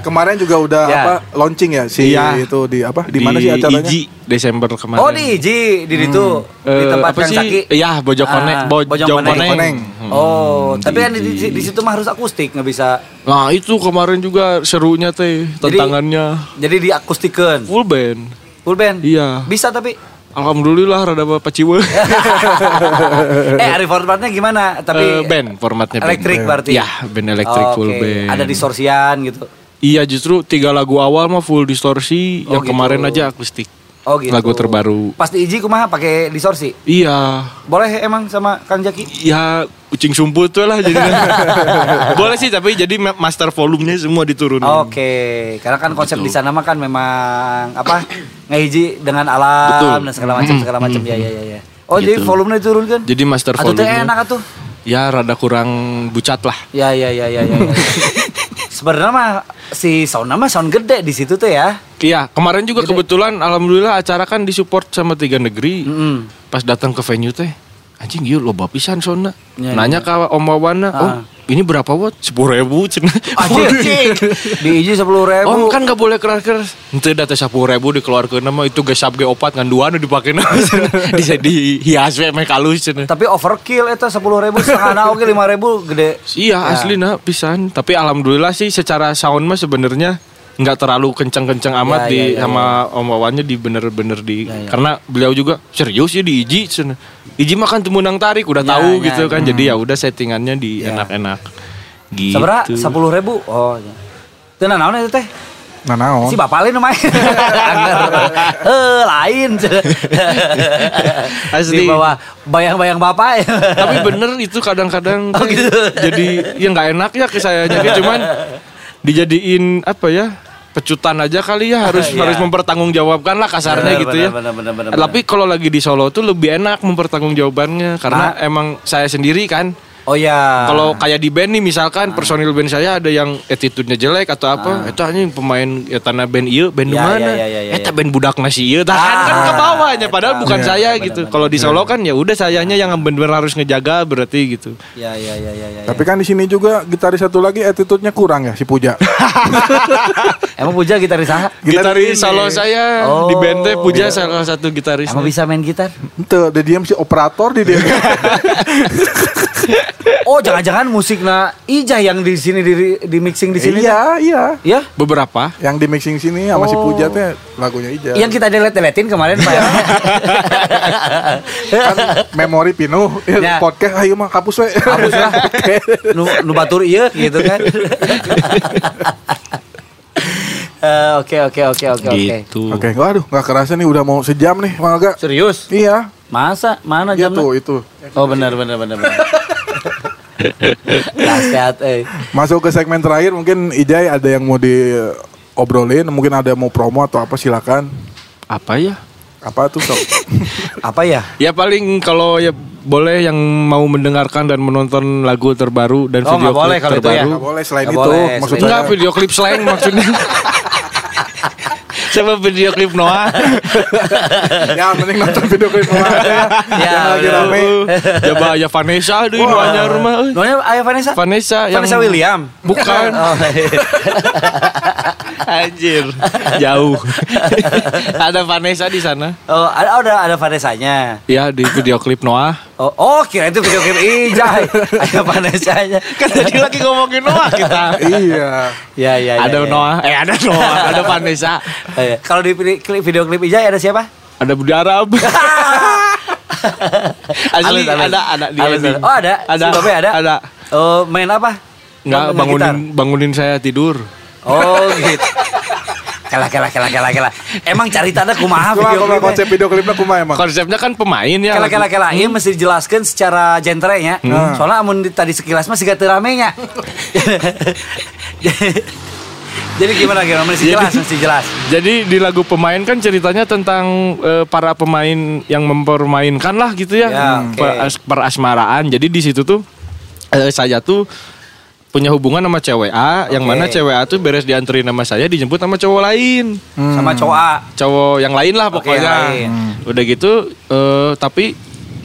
Speaker 2: Kemarin juga udah
Speaker 1: Ya.
Speaker 2: apa launching ya si
Speaker 3: Iya.
Speaker 2: itu di apa di mana sih acaranya?
Speaker 3: IJI, Desember kemarin.
Speaker 1: Oh di Iji, di itu di
Speaker 3: Eh,
Speaker 1: tempat
Speaker 3: apa
Speaker 1: Kang
Speaker 3: sih?
Speaker 1: Zaki.
Speaker 3: Iya, Bojokoneng-
Speaker 1: Ah,
Speaker 3: Bojokoneng.
Speaker 2: Bojokoneng.
Speaker 3: Hmm.
Speaker 1: Oh, tapi kan di, di- di situ mah harus akustik, nggak bisa.
Speaker 3: Nah, itu kemarin juga serunya teh
Speaker 1: Jadi-
Speaker 3: tantangannya
Speaker 1: Jadi diakustikan.
Speaker 3: full band.
Speaker 1: Full band.
Speaker 3: Iya.
Speaker 1: Bisa tapi
Speaker 3: Alhamdulillah rada bapak ciwe.
Speaker 1: eh Arif formatnya gimana? <laughs>
Speaker 3: Eh,
Speaker 1: Tapi
Speaker 3: band formatnya band.
Speaker 1: elektrik berarti.
Speaker 3: Iya, band elektrik
Speaker 1: Oh,
Speaker 3: full
Speaker 1: oke.
Speaker 3: band.
Speaker 1: Ada distorsian gitu.
Speaker 3: Iya justru tiga lagu awal mah full distorsi
Speaker 1: Oh,
Speaker 3: yang
Speaker 1: gitu.
Speaker 3: kemarin aja akustik.
Speaker 1: Oh gitu.
Speaker 3: Lagu terbaru.
Speaker 1: Pas di Iji kumaha pakai distorsi.
Speaker 3: Iya.
Speaker 1: Boleh emang sama Kang Jaki?
Speaker 3: Ya kucing sumput tuh lah
Speaker 1: <laughs>
Speaker 3: jadi boleh sih tapi jadi ma- master volumenya semua diturunin.
Speaker 1: Oke, karena kan konsep di sana mah kan memang apa ngehiji dengan alam
Speaker 3: Betul. Hmm.
Speaker 1: dan segala macam segala macam ya ya ya. ya. Oh jadi
Speaker 3: Gitu.
Speaker 1: volumenya diturunkan?
Speaker 3: Jadi master
Speaker 1: Atuh teh
Speaker 3: volumenya.
Speaker 1: enak atuh.
Speaker 3: Ya rada kurang bucat lah.
Speaker 1: Ya ya ya ya
Speaker 3: <laughs>
Speaker 1: ya. ya. Sebenarnya mah si sound mah sound gede di situ tuh ya.
Speaker 3: Iya kemarin juga
Speaker 1: Gitu
Speaker 3: kebetulan alhamdulillah acara kan disupport sama tiga negeri.
Speaker 1: Mm-mm.
Speaker 3: Pas datang ke venue teh anjing yuk loba pisan sona.
Speaker 1: Iya,
Speaker 3: Nanya ke Om Wawana, oh
Speaker 1: Ah.
Speaker 3: ini berapa watt? Sepuluh ribu. <laughs>
Speaker 1: Anjing. di Iji sepuluh
Speaker 3: Om
Speaker 1: ribu.
Speaker 3: kan gak boleh keras keras. Nanti data sepuluh ribu dikeluarkan nama itu gak sab ge opat ngan dua nu
Speaker 1: <laughs>
Speaker 3: dipakai nama. Bisa dihias we make halus. cenah.
Speaker 1: Tapi overkill itu sepuluh ribu setengah oke lima ribu gede.
Speaker 3: Iya asli nah pisan. Tapi alhamdulillah sih secara sound mah sebenarnya nggak terlalu kenceng-kenceng
Speaker 1: Ya,
Speaker 3: amat di
Speaker 1: ya, ya,
Speaker 3: sama om Wawannya di bener-bener di karena beliau juga serius ya di Iji cenah. Iji mah kan temunang tarik udah
Speaker 1: Ya,
Speaker 3: tahu
Speaker 1: ya,
Speaker 3: gitu kan jadi ya udah settingannya di enak-enak gitu.
Speaker 1: Seberapa sepuluh ribu? Oh. Ya. Itu nah, naon itu teh?
Speaker 2: Nah naon?
Speaker 1: Si bapak lain main. Eh lain. Di
Speaker 3: Asli.
Speaker 1: bawah bayang-bayang bapak.
Speaker 3: tapi bener itu kadang-kadang teh jadi ya nggak enak ya ke saya jadi cuman dijadiin apa ya pecutan aja kali ya harus
Speaker 1: Iya.
Speaker 3: harus mempertanggungjawabkan lah kasarnya
Speaker 1: Bener,
Speaker 3: gitu
Speaker 1: bener,
Speaker 3: ya
Speaker 1: bener, bener, bener,
Speaker 3: tapi kalau lagi di Solo tuh lebih enak mempertanggungjawabannya karena emang saya sendiri kan
Speaker 1: Oh ya.
Speaker 3: kalau kayak di band nih
Speaker 1: Ah.
Speaker 3: misalkan personil band saya ada yang attitude-nya jelek atau apa, itu hanya pemain ya tanah band iya, band
Speaker 1: Ya,
Speaker 3: mana?
Speaker 1: ya, ya, ya, ya,
Speaker 3: Eta band budak nasi iya, tah kan,
Speaker 1: Ah.
Speaker 3: kan ke bawahnya padahal bukan
Speaker 1: Iya,
Speaker 3: saya
Speaker 1: benar,
Speaker 3: gitu.
Speaker 1: benar.
Speaker 3: Kalau di Solo kan ya udah sayanya yang benar-benar harus ngejaga berarti gitu.
Speaker 1: Ya ya ya ya ya.
Speaker 2: Tapi kan di sini juga gitaris satu lagi attitude-nya kurang ya si
Speaker 1: <laughs>
Speaker 2: Puja.
Speaker 1: Emang puja gitaris ah?
Speaker 3: Gitaris Solo saya di
Speaker 1: Oh.
Speaker 3: band teh puja salah satu gitaris.
Speaker 1: Emang bisa main gitar?
Speaker 2: Ente, dia diam si operator di dia.
Speaker 1: Iya.
Speaker 2: <laughs>
Speaker 1: Oh, jangan-jangan musik na Ijah yang di sini di, di mixing di sini.
Speaker 2: iya, iya.
Speaker 1: Ya?
Speaker 3: Beberapa.
Speaker 2: Yang di mixing sini sama si Puja teh lagunya Ija.
Speaker 1: Oh. Yang kita delete-deletin kemarin Pak.
Speaker 2: kan memori pinuh
Speaker 1: <laughs> Ya.
Speaker 2: podcast ayo mah hapus we.
Speaker 1: Hapus
Speaker 2: <laughs>
Speaker 1: lah. nu, nu batur iya gitu kan. Eh, Oke oke oke oke oke.
Speaker 3: Gitu.
Speaker 2: Oke, waduh nggak kerasa nih udah mau sejam nih Mang Aga.
Speaker 1: Serius?
Speaker 2: Iya,
Speaker 1: Masa? Mana
Speaker 2: iya
Speaker 1: jamnya?
Speaker 2: tuh itu.
Speaker 1: Oh benar benar benar benar. <laughs> Nasihat eh.
Speaker 2: Masuk ke segmen terakhir mungkin Ijai ada yang mau diobrolin, mungkin ada yang mau promo atau apa silakan.
Speaker 3: Apa ya?
Speaker 2: Apa tuh sok?
Speaker 1: <laughs> Apa ya?
Speaker 3: Ya paling kalau ya boleh yang mau mendengarkan dan menonton lagu terbaru dan
Speaker 1: Oh,
Speaker 3: video
Speaker 1: nggak boleh
Speaker 3: klip
Speaker 1: kalau itu ya.
Speaker 3: terbaru.
Speaker 2: Nggak boleh selain
Speaker 1: Nggak
Speaker 2: itu. kan
Speaker 1: boleh,
Speaker 2: maksud
Speaker 1: selain
Speaker 3: Enggak
Speaker 2: saya-
Speaker 3: video klip slang maksudnya. <laughs> Coba video klip Noah.
Speaker 2: ya mending nonton video klip Noah aja ya.
Speaker 1: Ya,
Speaker 2: Yang lagi
Speaker 1: bener.
Speaker 2: rame.
Speaker 3: Coba ya Vanessa di
Speaker 2: Wah.
Speaker 3: Noahnya rumah. euy.
Speaker 1: Namanya Ayah Vanessa?
Speaker 3: Vanessa yang
Speaker 1: Vanessa William.
Speaker 3: Bukan.
Speaker 1: <laughs> Oh, iya.
Speaker 3: Anjir, <laughs> jauh. Ada Vanessa di sana.
Speaker 1: Oh, ada ada ada Vanessa-nya.
Speaker 3: Ya di video klip Noah.
Speaker 1: Oh, oh kira itu video klip Ijai. Ada
Speaker 3: <laughs>
Speaker 1: Vanessa-nya.
Speaker 3: Kan tadi lagi ngomongin Noah kita.
Speaker 2: Iya.
Speaker 1: Ya, ya, ya.
Speaker 3: Ada
Speaker 1: ya.
Speaker 3: Noah, eh ada Noah, <laughs> ada Vanessa,
Speaker 1: Oh, iya. Kalau di pili- klip- video klip Ijai ada siapa?
Speaker 3: ada Budi Arab. <laughs>
Speaker 1: Alus,
Speaker 3: Asli
Speaker 1: alus.
Speaker 3: ada ada di
Speaker 1: Alus,
Speaker 3: ending.
Speaker 1: alus. Oh, ada?
Speaker 3: ada
Speaker 1: Si Babe ada?
Speaker 3: ada.
Speaker 1: Oh, main apa?
Speaker 3: Nggak
Speaker 1: Main
Speaker 3: bangunin
Speaker 1: gitar?
Speaker 3: bangunin saya tidur.
Speaker 1: Oh
Speaker 3: <laughs>
Speaker 1: gitu. Kalah kalah kalah kalah kalah. Emang cerita ada kumaha
Speaker 2: Cuma
Speaker 1: Ah, video
Speaker 2: kalau konsep
Speaker 1: klipnya.
Speaker 2: video klipnya kumaha emang.
Speaker 3: Konsepnya kan pemain ya. Hmm.
Speaker 1: Kalah kalah kalah. Ini Iya, mesti dijelaskan secara genrenya. Soalnya amun di- tadi sekilas mah siga teu ramenya. <laughs> Jadi gimana gimana mesti jelas
Speaker 3: Jadi-
Speaker 1: mesti jelas.
Speaker 3: Jadi di lagu pemain kan ceritanya tentang eh, para pemain yang mempermainkan lah gitu ya,
Speaker 1: Ya, oke.
Speaker 3: Peras- perasmaraan. Jadi di situ tuh eh, saya tuh punya hubungan sama cewek A, yang
Speaker 1: Oke.
Speaker 3: mana cewek A tuh beres dianterin sama saya, dijemput sama cowok lain,
Speaker 1: Sama coa.
Speaker 3: cowok yang lain lah
Speaker 1: Oke, yang
Speaker 3: pokoknya.
Speaker 1: lain.
Speaker 3: Udah gitu, eh, tapi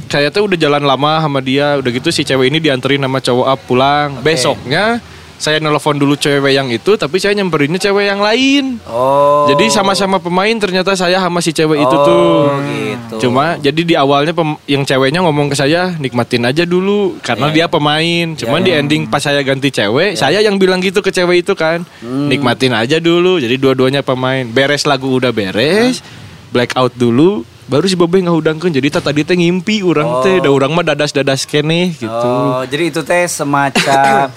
Speaker 3: saya tuh udah jalan lama sama dia, udah gitu si cewek ini dianterin sama cowok A pulang. Besoknya saya nelpon dulu cewek yang itu, tapi saya nyamperinnya cewek yang lain.
Speaker 1: Oh.
Speaker 3: Jadi sama-sama pemain ternyata saya sama si cewek itu
Speaker 1: Oh,
Speaker 3: tuh.
Speaker 1: gitu.
Speaker 3: Cuma jadi di awalnya pem- yang ceweknya ngomong ke saya nikmatin aja dulu
Speaker 1: Iya,
Speaker 3: karena dia pemain. Cuman di ending pas saya ganti cewek, saya yang bilang gitu ke cewek itu kan.
Speaker 1: Hmm.
Speaker 3: Nikmatin aja dulu. Jadi dua-duanya pemain. Beres lagu udah beres. Blackout dulu baru si Bobeh ngahudangkeun. Jadi tah tadi teh ngimpi urang teh, da urang mah dadas-dadas keneh gitu.
Speaker 1: Oh, jadi itu teh
Speaker 3: <coughs>
Speaker 1: semacam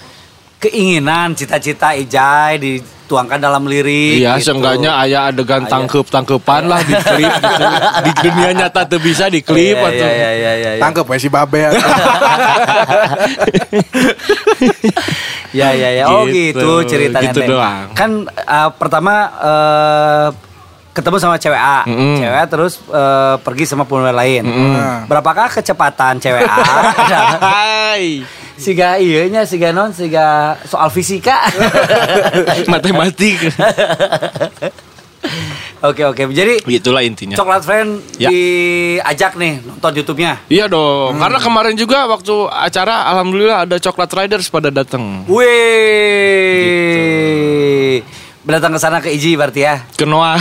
Speaker 1: keinginan cita-cita Ijai dituangkan dalam lirik.
Speaker 3: Iya,
Speaker 1: gitu.
Speaker 3: seenggaknya ayah adegan tangkep-tangkepan lah di klip
Speaker 1: <laughs>
Speaker 3: gitu. Di dunia nyata tuh bisa di klip
Speaker 1: Iya,
Speaker 3: atau
Speaker 1: iya, iya, iya, iya, iya.
Speaker 2: Tangkep ya si Babe.
Speaker 1: <laughs>
Speaker 2: atau-
Speaker 1: Ya ya ya. Oh
Speaker 3: Gitu,
Speaker 1: gitu, ceritanya.
Speaker 3: gitu
Speaker 1: Teh.
Speaker 3: doang.
Speaker 1: Kan eh, pertama eh, ketemu sama cewek A, cewek A terus eh, pergi sama pemain lain. Berapakah kecepatan cewek
Speaker 3: <laughs>
Speaker 1: A?
Speaker 3: Hai.
Speaker 1: siga iyeunya, siga non, siga soal
Speaker 3: <laughs>
Speaker 1: fisika.
Speaker 3: <laughs> Matematik.
Speaker 1: Oke oke. Jadi
Speaker 3: Itulah intinya.
Speaker 1: Coklat Friend
Speaker 3: Ya.
Speaker 1: diajak nih nonton YouTube-nya.
Speaker 3: Iya
Speaker 1: Hmm.
Speaker 3: dong, karena kemarin juga waktu acara alhamdulillah ada Coklat Riders pada datang.
Speaker 1: Wih.
Speaker 3: Gitu.
Speaker 1: Datang ke sana ke Iji berarti
Speaker 3: <laughs>
Speaker 1: ya.
Speaker 3: Ke
Speaker 1: <laughs>
Speaker 3: Noah.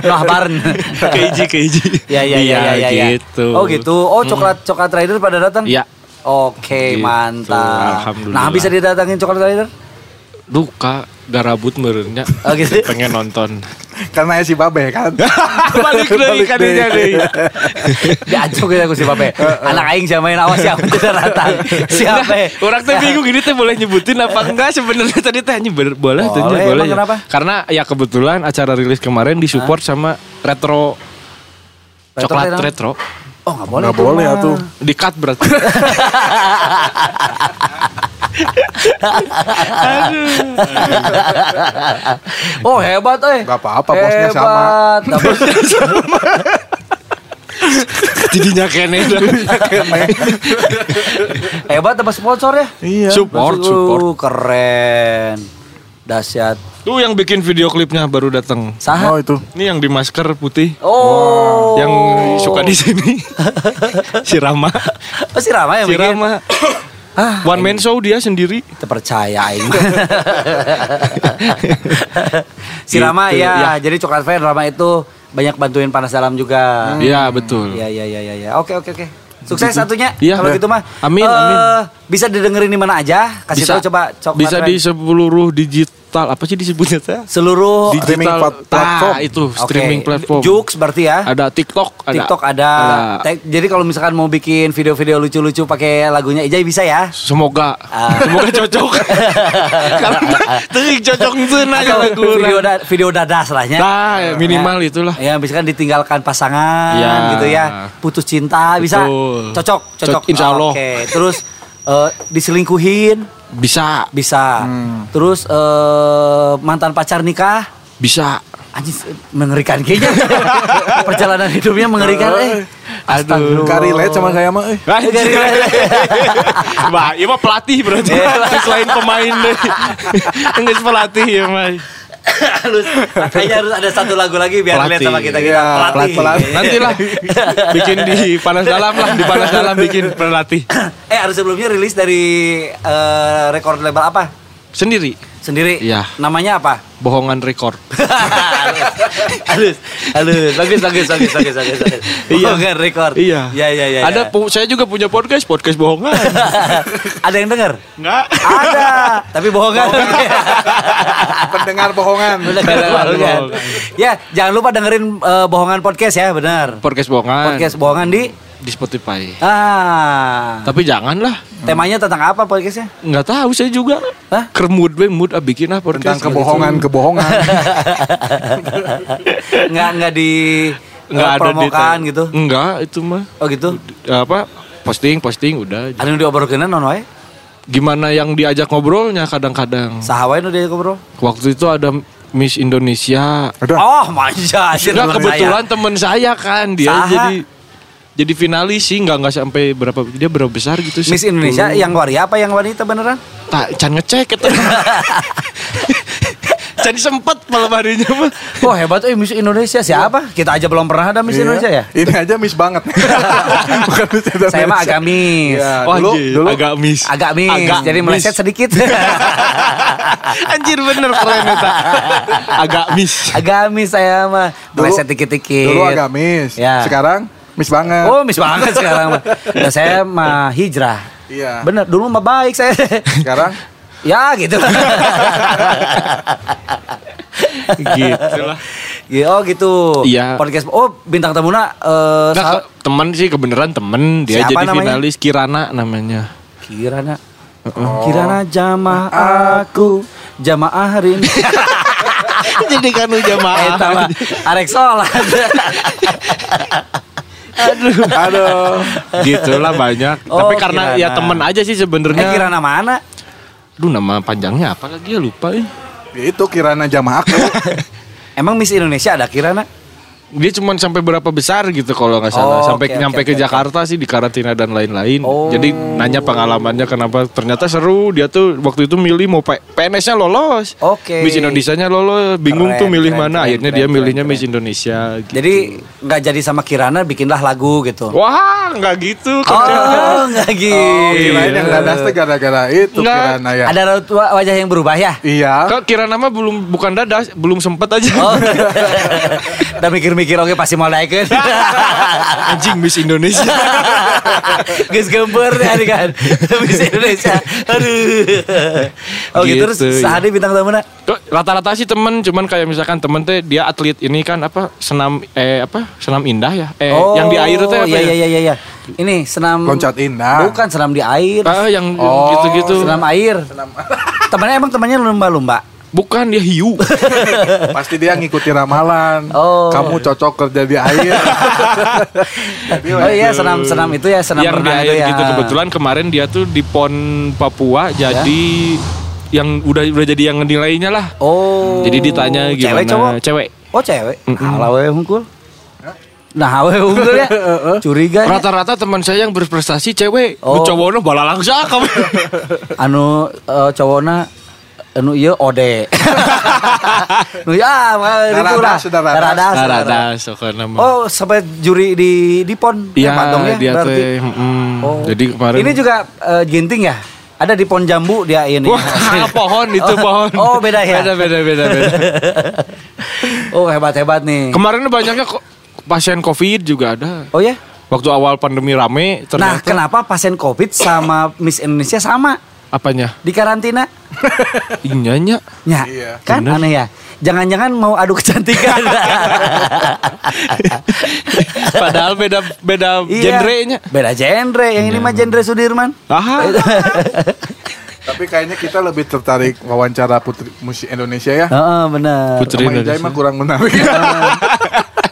Speaker 1: Nah, barn.
Speaker 3: ke Iji, ke Iji.
Speaker 1: Ya ya ya ya ya, ya.
Speaker 3: gitu.
Speaker 1: Oh gitu. Oh coklat coklat rider pada datang.
Speaker 3: Iya.
Speaker 1: Oke
Speaker 3: Gitu,
Speaker 1: mantap.
Speaker 3: alhamdulillah.
Speaker 1: Nah bisa didatangin coklat rider?
Speaker 3: Duka garabut merenya.
Speaker 1: Oh gitu.
Speaker 3: Pengen nonton.
Speaker 2: Karena ya si Babe
Speaker 1: <laughs>
Speaker 2: kan.
Speaker 3: Balik
Speaker 2: Balik
Speaker 3: lagi kan
Speaker 2: deui.
Speaker 3: ini.
Speaker 1: ya. Diancuk kita si
Speaker 2: <laughs>
Speaker 1: Bape. ya, Anak aing sama main awas siapa tidak datang. Siapa? ya?
Speaker 3: Orang tuh bingung ini teh boleh nyebutin apa enggak sebenarnya tadi teh hanya boleh boleh tuh
Speaker 1: Boleh,
Speaker 3: boleh.
Speaker 1: emang
Speaker 3: ya.
Speaker 1: kenapa?
Speaker 3: Karena ya kebetulan acara rilis kemarin disupport sama retro
Speaker 1: Retro
Speaker 3: coklat
Speaker 1: teh,
Speaker 3: retro.
Speaker 1: Oh nggak boleh.
Speaker 2: Enggak
Speaker 1: tuh,
Speaker 2: boleh
Speaker 1: Ma.
Speaker 2: atuh.
Speaker 3: Di cut berarti. <laughs>
Speaker 1: oh hebat eh.
Speaker 2: Nggak apa-apa, bosnya sama.
Speaker 1: Hebat. Nah,
Speaker 2: <laughs>
Speaker 1: bos-
Speaker 3: Jadinya kene.
Speaker 1: hebat dapat sponsor ya.
Speaker 2: Iya.
Speaker 3: support
Speaker 1: Maksud-
Speaker 3: support.
Speaker 1: Uh, Keren. Dahsyat.
Speaker 3: Tuh yang bikin video klipnya baru datang.
Speaker 1: Saha.
Speaker 2: Oh itu.
Speaker 3: Ini yang di masker putih.
Speaker 1: Oh.
Speaker 3: Yang suka di
Speaker 1: <laughs>
Speaker 3: sini. si Rama.
Speaker 1: Oh si Rama yang
Speaker 3: Si
Speaker 1: bikin.
Speaker 3: Rama.
Speaker 1: <coughs> Ah,
Speaker 3: One man show dia sendiri.
Speaker 1: terpercaya aing mah. si
Speaker 3: Gitu,
Speaker 1: Rama ya,
Speaker 3: ya.
Speaker 1: jadi coklat fair Rama itu banyak bantuin panas dalam juga.
Speaker 3: Iya, betul.
Speaker 1: Iya iya iya iya. Ya. Oke oke oke. Sukses satunya.
Speaker 3: Iya.
Speaker 1: Kalau gitu mah. Eh,
Speaker 3: Amin, amin.
Speaker 1: Bisa didengerin di mana aja. Kasih
Speaker 3: Bisa
Speaker 1: tahu coba coklat
Speaker 3: Bisa
Speaker 1: fair.
Speaker 3: di seluruh digital apa sih disebutnya teh?
Speaker 1: seluruh
Speaker 2: Di- streaming plat-
Speaker 3: Nah,
Speaker 2: platform.
Speaker 3: itu
Speaker 1: Oke.
Speaker 3: streaming platform.
Speaker 1: Joox berarti ya.
Speaker 3: Ada TikTok, ada.
Speaker 1: TikTok ada. Tek- Jadi kalau misalkan mau bikin video-video lucu-lucu pakai lagunya Ijai bisa ya.
Speaker 3: Semoga,
Speaker 1: Ah.
Speaker 3: semoga
Speaker 1: <laughs>
Speaker 3: cocok. <laughs> Karena teuing cocok tuh nanya
Speaker 1: Atau
Speaker 3: lagu.
Speaker 1: video da- video dadas ya. lahnya.
Speaker 3: Nah, minimal
Speaker 1: Ya.
Speaker 3: itulah.
Speaker 1: Ya, misalkan ditinggalkan pasangan
Speaker 3: Ya.
Speaker 1: gitu ya. Putus cinta bisa.
Speaker 3: Betul.
Speaker 1: Cocok, cocok.
Speaker 3: Cocok, insya Allah.
Speaker 1: Oke, terus eh, diselingkuhin
Speaker 3: Bisa,
Speaker 1: bisa.
Speaker 3: Hmm.
Speaker 1: Terus eh, mantan pacar nikah
Speaker 3: bisa.
Speaker 1: anjing mengerikan
Speaker 3: <laughs>
Speaker 1: kayaknya. Perjalanan hidupnya mengerikan eh. Aduh.
Speaker 2: Gak relate sama saya mah
Speaker 1: <laughs>
Speaker 2: eh.
Speaker 3: Wah, <laughs> iya mah pelatih berarti. Selain pemain deh. Enggak pelatih ya, mah.
Speaker 1: harus kayaknya harus ada satu lagu lagi biar
Speaker 3: Pelatih.
Speaker 1: relate sama kita kita
Speaker 2: Iya,
Speaker 1: pelatih.
Speaker 2: pelatih.
Speaker 3: Nantilah bikin di panas dalam lah, di panas dalam bikin pelatih
Speaker 1: Eh harus sebelumnya rilis dari eh, record label apa?
Speaker 3: sendiri.
Speaker 1: Sendiri.
Speaker 3: Iya.
Speaker 1: Namanya apa?
Speaker 3: Bohongan rekor.
Speaker 1: <laughs> halus, halus, bagus, bagus, bagus, bagus, bagus, bagus.
Speaker 3: Iya.
Speaker 1: Bohongan record.
Speaker 3: Iya.
Speaker 1: Iya, iya, iya.
Speaker 3: Ada
Speaker 1: iya.
Speaker 3: pu- saya juga punya podcast, podcast bohongan.
Speaker 1: <laughs> ada yang dengar?
Speaker 3: Enggak.
Speaker 1: Ada, tapi bohongan. <laughs>
Speaker 2: Pendengar bohongan.
Speaker 1: Pendengar bohongan.
Speaker 3: Bohongan.
Speaker 1: Ya, jangan lupa dengerin eh, bohongan podcast ya, benar.
Speaker 3: Podcast bohongan.
Speaker 1: Podcast bohongan di
Speaker 3: di Spotify.
Speaker 1: ah.
Speaker 3: Tapi janganlah.
Speaker 1: Temanya tentang apa
Speaker 3: <laughs>
Speaker 1: podcastnya?
Speaker 3: Nggak tahu saya juga.
Speaker 1: Hah?
Speaker 3: Kermud we mood ah, bikin
Speaker 2: Tentang
Speaker 3: ah podcast.
Speaker 1: <laughs>
Speaker 2: kebohongan-kebohongan.
Speaker 1: nggak nggak di
Speaker 3: Nggak ada
Speaker 1: promokan
Speaker 3: detail.
Speaker 1: gitu.
Speaker 3: Enggak, itu mah.
Speaker 1: Oh gitu.
Speaker 3: Apa? Posting, posting udah.
Speaker 1: Ada yang diobrolkeun non wae?
Speaker 3: Gimana yang diajak ngobrolnya kadang-kadang.
Speaker 1: Saha wae nu diajak ngobrol?
Speaker 3: Waktu itu ada Miss Indonesia.
Speaker 2: Udah.
Speaker 1: Oh, manja anjir,
Speaker 3: Nah,
Speaker 1: teman
Speaker 3: kebetulan
Speaker 1: saya.
Speaker 3: temen saya kan dia
Speaker 1: Saha?
Speaker 3: jadi jadi finalis sih nggak nggak sampai berapa dia berapa besar gitu
Speaker 1: Miss
Speaker 3: 10.
Speaker 1: Indonesia yang waria apa yang wanita beneran?
Speaker 3: tak can ngecek
Speaker 1: <laughs>
Speaker 3: itu jadi sempet malam harinya mah
Speaker 1: Wah hebat eh Miss Indonesia siapa? Kita aja belum pernah ada Miss Indonesia
Speaker 2: <laughs>
Speaker 1: ya?
Speaker 2: Iya. Ini aja miss
Speaker 1: <laughs>
Speaker 2: banget. Bukan miss Indonesia.
Speaker 1: Saya mah agak Miss. Oh,
Speaker 2: Iya.
Speaker 3: Wah,
Speaker 2: dulu-
Speaker 3: anjir,
Speaker 2: dulu-
Speaker 3: agak miss
Speaker 1: Nah, Agak Miss.
Speaker 3: Agak
Speaker 1: Jadi
Speaker 3: miss.
Speaker 1: meleset sedikit.
Speaker 3: anjir bener keren
Speaker 1: <laughs>
Speaker 3: eta agak miss
Speaker 1: agak Miss saya mah. Meleset dikit-dikit.
Speaker 2: Dulu agak miss.
Speaker 1: Ya.
Speaker 2: Sekarang miss banget.
Speaker 1: Oh Miss banget sekarang mah. Nah, saya mah hijrah.
Speaker 2: Iya.
Speaker 1: Bener, dulu mah baik saya. <laughs>
Speaker 2: Sekarang
Speaker 1: ya gitu.
Speaker 3: gitu lah
Speaker 1: Ya, Oh gitu.
Speaker 3: Iya.
Speaker 1: Podcast. Oh bintang tamuna eh
Speaker 3: Nah,
Speaker 1: sa-
Speaker 3: ke- temen sih kebeneran temen dia
Speaker 1: Siapa
Speaker 3: jadi
Speaker 1: namanya?
Speaker 3: finalis Kirana
Speaker 1: <laughs>
Speaker 3: namanya
Speaker 1: Kirana. Oh. Kirana jamaah Uh-uh. Ah, aku jamaah hari <laughs> ini. Eh,
Speaker 3: jadi
Speaker 1: kan
Speaker 3: kanu
Speaker 1: Eta mah arek <laughs> sholat.
Speaker 2: aduh.
Speaker 3: gitulah Gitu banyak
Speaker 1: Oh,
Speaker 3: tapi karena
Speaker 1: Kirana.
Speaker 3: ya temen aja
Speaker 1: Eh
Speaker 3: sih sebenarnya
Speaker 1: Kirana mana?
Speaker 3: Duh nama panjangnya apa lagi ya lupa ya.
Speaker 2: Ya itu kirana jamaah aku.
Speaker 1: Emang Miss Indonesia ada Kirana?
Speaker 3: Dia cuma sampai berapa besar gitu kalau nggak salah.
Speaker 1: Oh,
Speaker 3: sampai
Speaker 1: oke,
Speaker 3: nyampe
Speaker 1: oke,
Speaker 3: ke
Speaker 1: oke,
Speaker 3: Jakarta sih di karantina dan lain-lain.
Speaker 1: Oh.
Speaker 3: Jadi nanya pengalamannya kenapa ternyata seru. Dia tuh waktu itu milih mau P- PNS-nya lolos.
Speaker 1: Oke.
Speaker 3: Miss Indonesia-nya lolos. Bingung
Speaker 1: Keren,
Speaker 3: tuh milih
Speaker 1: keren, keren,
Speaker 3: mana. Akhirnya
Speaker 1: keren,
Speaker 3: dia milihnya
Speaker 1: keren,
Speaker 3: Miss Indonesia gitu.
Speaker 1: Jadi nggak jadi sama Kirana bikinlah lagu gitu.
Speaker 3: Wah, nggak gitu.
Speaker 1: <laughs> Oh nggak gitu.
Speaker 2: Oh,
Speaker 3: Iya.
Speaker 2: kirain yang dadas teh gara-gara itu
Speaker 3: Enggak.
Speaker 2: kirana ya.
Speaker 1: Ada raut wa- wajah yang berubah <laughs> ya?
Speaker 2: Iya.
Speaker 3: Kok kira nama belum bukan dadah, belum sempet aja. <laughs>
Speaker 1: Oh. Dan mikir-mikir oke pasti mau naikin. <laughs>
Speaker 3: Anjing Miss Indonesia. <laughs>
Speaker 1: Gus Gember deh hari <laughs> kan Habis Indonesia Aduh Oke
Speaker 3: Gitu,
Speaker 1: terus
Speaker 3: iya.
Speaker 1: sehari bintang tamu nak
Speaker 3: Tuh, Rata-rata sih temen, cuman kayak misalkan temen teh dia atlet ini kan apa senam eh apa senam indah ya, eh yang di air teh apa
Speaker 1: iya,
Speaker 3: ya?
Speaker 1: Iya iya iya Ini senam
Speaker 2: Loncat indah.
Speaker 1: Bukan senam di air
Speaker 3: Ah, yang
Speaker 2: Oh,
Speaker 1: iya.
Speaker 3: gitu-gitu.
Speaker 1: Senam air <laughs> Temannya emang temannya lumba-lumba
Speaker 3: Bukan dia hiu.
Speaker 2: Pasti dia ngikuti ramalan.
Speaker 1: Oh.
Speaker 2: Kamu cocok kerja di air. Jadi,
Speaker 1: Oh iya senam senam itu ya <laughs> senam
Speaker 3: yang di
Speaker 1: renang
Speaker 3: air
Speaker 1: itu ya
Speaker 3: gitu kebetulan kemarin dia tuh di PON Papua
Speaker 1: Ya.
Speaker 3: jadi yang udah udah jadi yang nilainya lah.
Speaker 1: Oh
Speaker 3: Jadi ditanya gimana?
Speaker 1: Cewek cowok
Speaker 3: Cewek.
Speaker 1: Oh cewek Halah we hungkul Nah we hungkul ya Curiga nya.
Speaker 3: Rata-rata teman saya yang berprestasi cewek.
Speaker 1: Oh.
Speaker 3: Oh. Cowoknya bala langsa
Speaker 1: <laughs>
Speaker 3: kamu.
Speaker 1: anu eh, cowokna anu iya ode <laughs> nu ya mah
Speaker 2: Daradas,
Speaker 1: itu lah.
Speaker 2: sudah daradas.
Speaker 1: Daradas, daradas.
Speaker 3: Rata-rata sok nama.
Speaker 1: oh sampai juri di di pon
Speaker 3: Iya,
Speaker 1: Bandung ya,
Speaker 3: dia
Speaker 1: berarti.
Speaker 3: teh. mm,
Speaker 1: Oh.
Speaker 3: Jadi kemarin
Speaker 1: ini juga eh, ginting ya ada di pon jambu dia ini <laughs> Iya.
Speaker 3: Wah, <laughs> pohon itu pohon.
Speaker 1: Oh, beda ya?
Speaker 3: Beda beda beda
Speaker 1: <laughs>
Speaker 3: beda.
Speaker 1: oh hebat hebat nih
Speaker 3: Kemarin banyaknya kok pasien Covid juga ada.
Speaker 1: oh ya
Speaker 3: Waktu awal pandemi rame
Speaker 1: nah
Speaker 3: ternyata
Speaker 1: kenapa pasien covid sama Miss Indonesia sama
Speaker 3: apanya?
Speaker 1: di karantina <laughs>
Speaker 3: Inyanya.
Speaker 1: Ya,
Speaker 2: Iya.
Speaker 1: kan
Speaker 3: Bener.
Speaker 1: aneh ya. Jangan-jangan mau adu
Speaker 3: <laughs>
Speaker 1: kecantikan.
Speaker 3: Padahal beda beda
Speaker 1: Iya.
Speaker 3: genrenya.
Speaker 1: Beda genre. Yang ini mah genre Sudirman. <laughs>
Speaker 3: Aha.
Speaker 2: Tapi kayaknya kita lebih tertarik wawancara putri musik Indonesia ya.
Speaker 1: Heeh, benar.
Speaker 3: Putri
Speaker 2: Sama Ijai
Speaker 3: Indonesia.
Speaker 2: mah
Speaker 1: Ah.
Speaker 2: kurang menarik.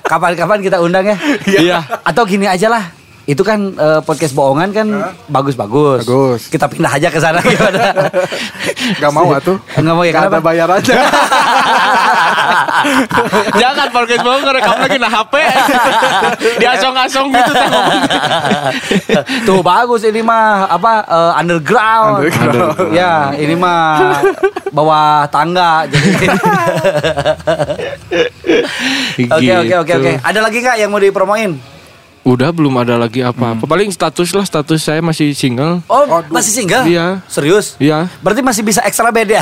Speaker 1: Kapan-kapan kita undang ya.
Speaker 3: Iya.
Speaker 1: Atau gini aja lah. itu kan eh, podcast bohongan kan bagus-bagus.
Speaker 2: Bagus.
Speaker 1: Kita pindah aja ke sana <laughs> gimana?
Speaker 2: Gak mau atuh.
Speaker 1: Nggak mau ya,
Speaker 2: Nggak ada
Speaker 1: kenapa?
Speaker 2: bayar aja.
Speaker 3: Jangan podcast bau ngerekam lagi nah
Speaker 1: <laughs>
Speaker 3: HP. Diasong-asong gitu teh ngomongnya.
Speaker 1: Tuh bagus ini mah apa eh, underground.
Speaker 2: Underground.
Speaker 1: Ya, ini mah bawah tangga jadi.
Speaker 3: <laughs>
Speaker 1: Oke oke oke oke.
Speaker 3: Gitu.
Speaker 1: Ada lagi nggak yang mau dipromoin?
Speaker 3: Udah belum ada lagi apa-apa.
Speaker 1: Hmm.
Speaker 3: Paling status lah, status saya masih single.
Speaker 1: Oh,
Speaker 2: Aduh.
Speaker 1: masih single?
Speaker 3: Iya.
Speaker 1: Serius?
Speaker 3: Iya.
Speaker 1: Berarti masih bisa ekstra ya? beda.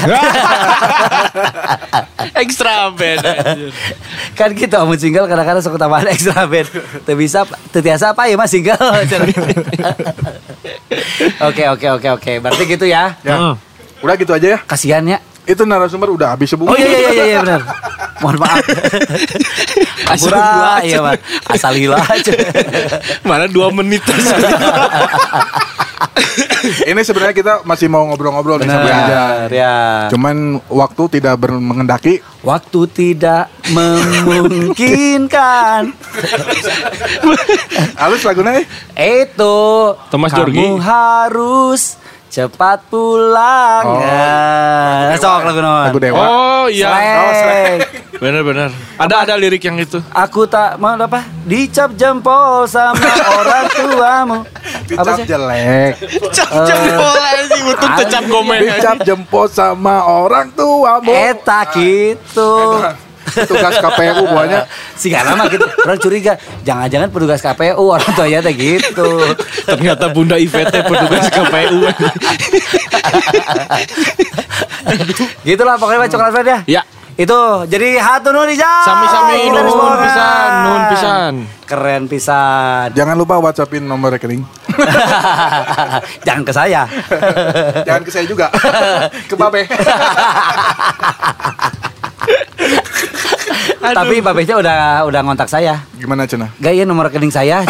Speaker 3: <laughs> Ekstra beda.
Speaker 1: kan gitu amun single kadang-kadang suka tambahan ekstra bed. Teu bisa teu tiasa apa ya mas single. Oke oke oke oke. Berarti gitu ya.
Speaker 2: ya.
Speaker 3: Ah.
Speaker 2: Udah gitu aja ya.
Speaker 1: Kasihan ya.
Speaker 2: Itu narasumber udah habis sebelum.
Speaker 1: Oh iya iya iya, iya benar. Mohon maaf.
Speaker 3: Asal
Speaker 1: Ampura,
Speaker 3: gua
Speaker 1: iya
Speaker 3: aja.
Speaker 1: mah. Asal hila aja.
Speaker 3: Mana dua menit terus.
Speaker 2: Ini sebenarnya kita masih mau ngobrol-ngobrol nih sampai aja.
Speaker 1: Benar ya.
Speaker 2: Cuman waktu tidak ber- mengendaki.
Speaker 1: Waktu tidak memungkinkan.
Speaker 2: Halus lagunya eh.
Speaker 1: Itu
Speaker 3: Thomas
Speaker 1: kamu
Speaker 3: Jorgi.
Speaker 1: harus cepat pulang.
Speaker 2: Oh,
Speaker 1: Nah, sok lagu naon?
Speaker 2: Lagu Dewa.
Speaker 3: Oh iya.
Speaker 2: Oh,
Speaker 1: Seleng.
Speaker 2: Seleng.
Speaker 3: Bener-bener. Ada ada lirik yang itu.
Speaker 1: <laughs> Aku tak mau apa? Dicap jempol
Speaker 3: <laughs>
Speaker 1: sama orang tuamu. Apa
Speaker 2: Dicap
Speaker 1: sih?
Speaker 2: jelek.
Speaker 3: Cacap bola sih, butuh cacap komen.
Speaker 2: Dicap jempol sama orang tua. Bo.
Speaker 1: Eta
Speaker 3: Ah.
Speaker 1: gitu.
Speaker 2: Tugas
Speaker 1: <laughs>
Speaker 2: KPU banyak.
Speaker 1: Si mah gitu. Orang curiga, jangan-jangan petugas KPU orang tuanya teh gitu.
Speaker 3: <laughs> Ternyata Bunda IVT petugas KPU.
Speaker 1: Gitulah pokoknya Pak coklat Fred ya.
Speaker 3: Ya.
Speaker 1: Itu jadi hatu nun Ijal.
Speaker 3: Sami-sami,
Speaker 1: Kita
Speaker 3: nuhun
Speaker 1: semua. kan.
Speaker 3: pisan, nuhun pisan.
Speaker 1: Keren
Speaker 3: <laughs>
Speaker 1: pisan. <laughs>
Speaker 2: Jangan lupa whatsappin nomor rekening.
Speaker 1: Jangan ke saya.
Speaker 2: Jangan ke saya
Speaker 1: <laughs>
Speaker 2: juga. ke Babe.
Speaker 1: Tapi Babehnya udah udah ngontak saya.
Speaker 2: Gimana Cina?
Speaker 1: Gak iya nomor rekening
Speaker 2: <laughs>
Speaker 1: saya.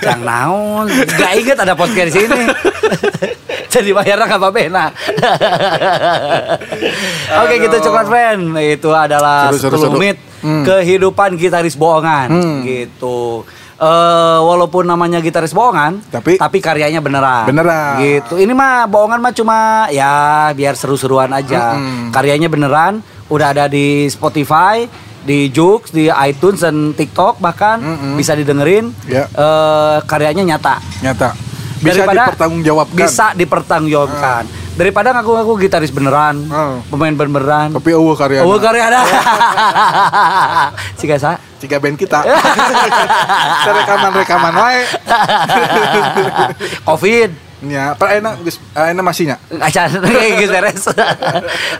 Speaker 1: Jangan naon. Gak inget ada podcast di
Speaker 2: <laughs>
Speaker 1: sini. Jadi bayarnya gak apa-apa enak. Oke gitu coklat friend. Itu adalah
Speaker 2: Seru, seru, Hmm.
Speaker 1: 10
Speaker 2: seru.
Speaker 1: menit kehidupan gitaris bohongan. Gitu. Eh, walaupun namanya gitaris bohongan,
Speaker 2: Tapi-
Speaker 1: karyanya beneran.
Speaker 2: Beneran.
Speaker 1: Gitu. Ini mah bohongan mah cuma ya biar seru-seruan aja.
Speaker 2: Hmm,
Speaker 1: Karyanya beneran, udah ada di Spotify, di Joox, di iTunes dan TikTok bahkan bisa didengerin.
Speaker 2: Ya.
Speaker 1: Eh, karyanya nyata.
Speaker 2: Nyata. Bisa dipertanggungjawabkan. Ah.
Speaker 1: Bisa dipertanggungjawabkan. Daripada ngaku-ngaku gitaris beneran,
Speaker 2: Hmm.
Speaker 1: pemain beneran.
Speaker 2: Tapi eueuh karya.
Speaker 1: Oh, karya ada.
Speaker 2: Ya.
Speaker 1: <laughs> Jika sa.
Speaker 2: Tiga band kita.
Speaker 1: <laughs>
Speaker 2: Rekaman-rekaman wae.
Speaker 1: Covid.
Speaker 2: Ya, per enak geus enak masihnya.
Speaker 1: Acan, <laughs> guys
Speaker 2: <laughs>
Speaker 1: beres.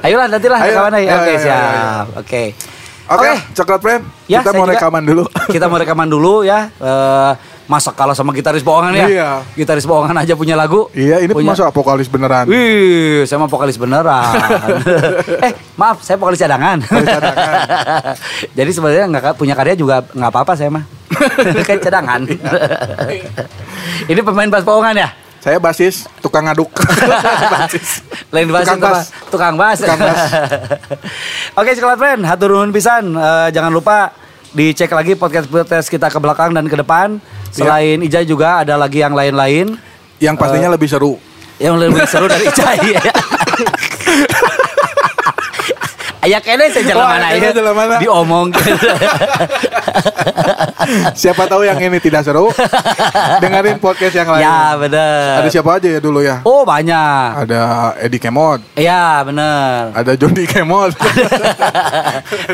Speaker 1: Ayolah nantilah
Speaker 2: Ayo.
Speaker 1: rekaman aja.
Speaker 2: Ayo,
Speaker 1: Oke
Speaker 2: ayo,
Speaker 1: siap. Oke.
Speaker 2: ya, Oke, coklat friend.
Speaker 1: Ya,
Speaker 2: kita
Speaker 1: saya
Speaker 2: mau
Speaker 1: juga.
Speaker 2: rekaman
Speaker 1: <laughs>
Speaker 2: dulu.
Speaker 1: Kita mau rekaman dulu ya. Eh masa kalah sama gitaris bohongan ya?
Speaker 2: Iya.
Speaker 1: Gitaris bohongan aja punya lagu.
Speaker 2: Iya, ini
Speaker 1: punya.
Speaker 2: masuk vokalis beneran.
Speaker 1: Oh, Wih, saya mah
Speaker 2: <laughs>
Speaker 1: vokalis beneran. eh, maaf, saya vokalis cadangan. <laughs> Jadi sebenarnya nggak ka- punya karya juga nggak apa-apa saya
Speaker 2: <laughs>
Speaker 1: mah. kan cadangan.
Speaker 2: Iya.
Speaker 1: ini pemain bass bohongan ya?
Speaker 2: Saya basis, tukang
Speaker 1: <laughs>
Speaker 2: ngaduk.
Speaker 1: Lain bahasa
Speaker 2: Tukang
Speaker 1: tukang
Speaker 2: bas.
Speaker 1: bas. Tukang bas.
Speaker 2: Tukang bas.
Speaker 1: <laughs> Oke, sekolah friend, hatur nuhun pisan. Eh, jangan lupa dicek lagi podcast-podcast kita ke belakang dan ke depan.
Speaker 2: Iya.
Speaker 1: Selain Ijai juga ada lagi yang lain-lain
Speaker 2: Yang
Speaker 1: Eh.
Speaker 2: pastinya lebih seru.
Speaker 1: yang lebih seru
Speaker 2: <laughs>
Speaker 1: dari Ijai. Ayah kene Ya, saya jalan
Speaker 2: Wah,
Speaker 1: mana
Speaker 2: kene
Speaker 1: ya?
Speaker 2: Oh, jalan mana?
Speaker 1: Diomongkeun.
Speaker 2: Siapa tahu yang ini tidak
Speaker 1: <laughs>
Speaker 2: seru, dengerin podcast yang <laughs> lain.
Speaker 1: ya, bener.
Speaker 2: Ada siapa aja ya dulu ya?
Speaker 1: Oh, banyak.
Speaker 2: Ada Edi Kemod,
Speaker 1: Ya,
Speaker 2: <laughs>
Speaker 1: bener.
Speaker 2: ada Jody
Speaker 1: <laughs>
Speaker 2: Kemod,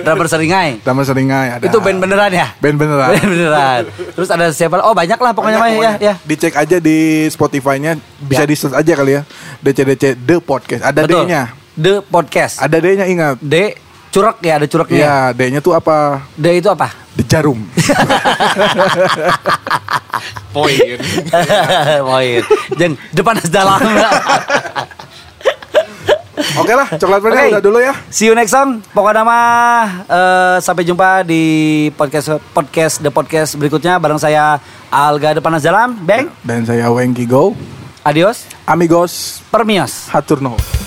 Speaker 1: Drummer seringai.
Speaker 2: Taman Seringai, ada
Speaker 1: Itu band beneran ya?
Speaker 2: Band beneran.
Speaker 1: <laughs> Beneran. Terus ada siapa? Oh banyak lah pokoknya mah ya, ya.
Speaker 2: Dicek aja di Spotify-nya, bisa
Speaker 1: Ya.
Speaker 2: di search aja kali ya. DCDC The Podcast. Ada
Speaker 1: Betul.
Speaker 2: D-nya.
Speaker 1: The podcast.
Speaker 2: Ada D-nya ingat.
Speaker 1: D curug ya ada curugnya.
Speaker 2: Iya, D-nya tuh apa?
Speaker 1: D itu
Speaker 2: <laughs>
Speaker 1: apa?
Speaker 2: The
Speaker 1: <laughs>
Speaker 2: Jarum.
Speaker 3: Poin.
Speaker 1: Poin. Jeng depan as dalam.
Speaker 2: Oke lah, coklat friendnya
Speaker 1: Oke.
Speaker 2: udah dulu ya.
Speaker 1: <laughs> See you next time. Pokoknya mah eh, sampai jumpa di podcast podcast The Podcast berikutnya bareng saya Alga depan
Speaker 2: Ya.
Speaker 1: as dalam. Bang.
Speaker 2: Dan saya Wengki Go.
Speaker 1: Adios.
Speaker 2: Amigos,
Speaker 1: Permios.
Speaker 2: hatur nuhun.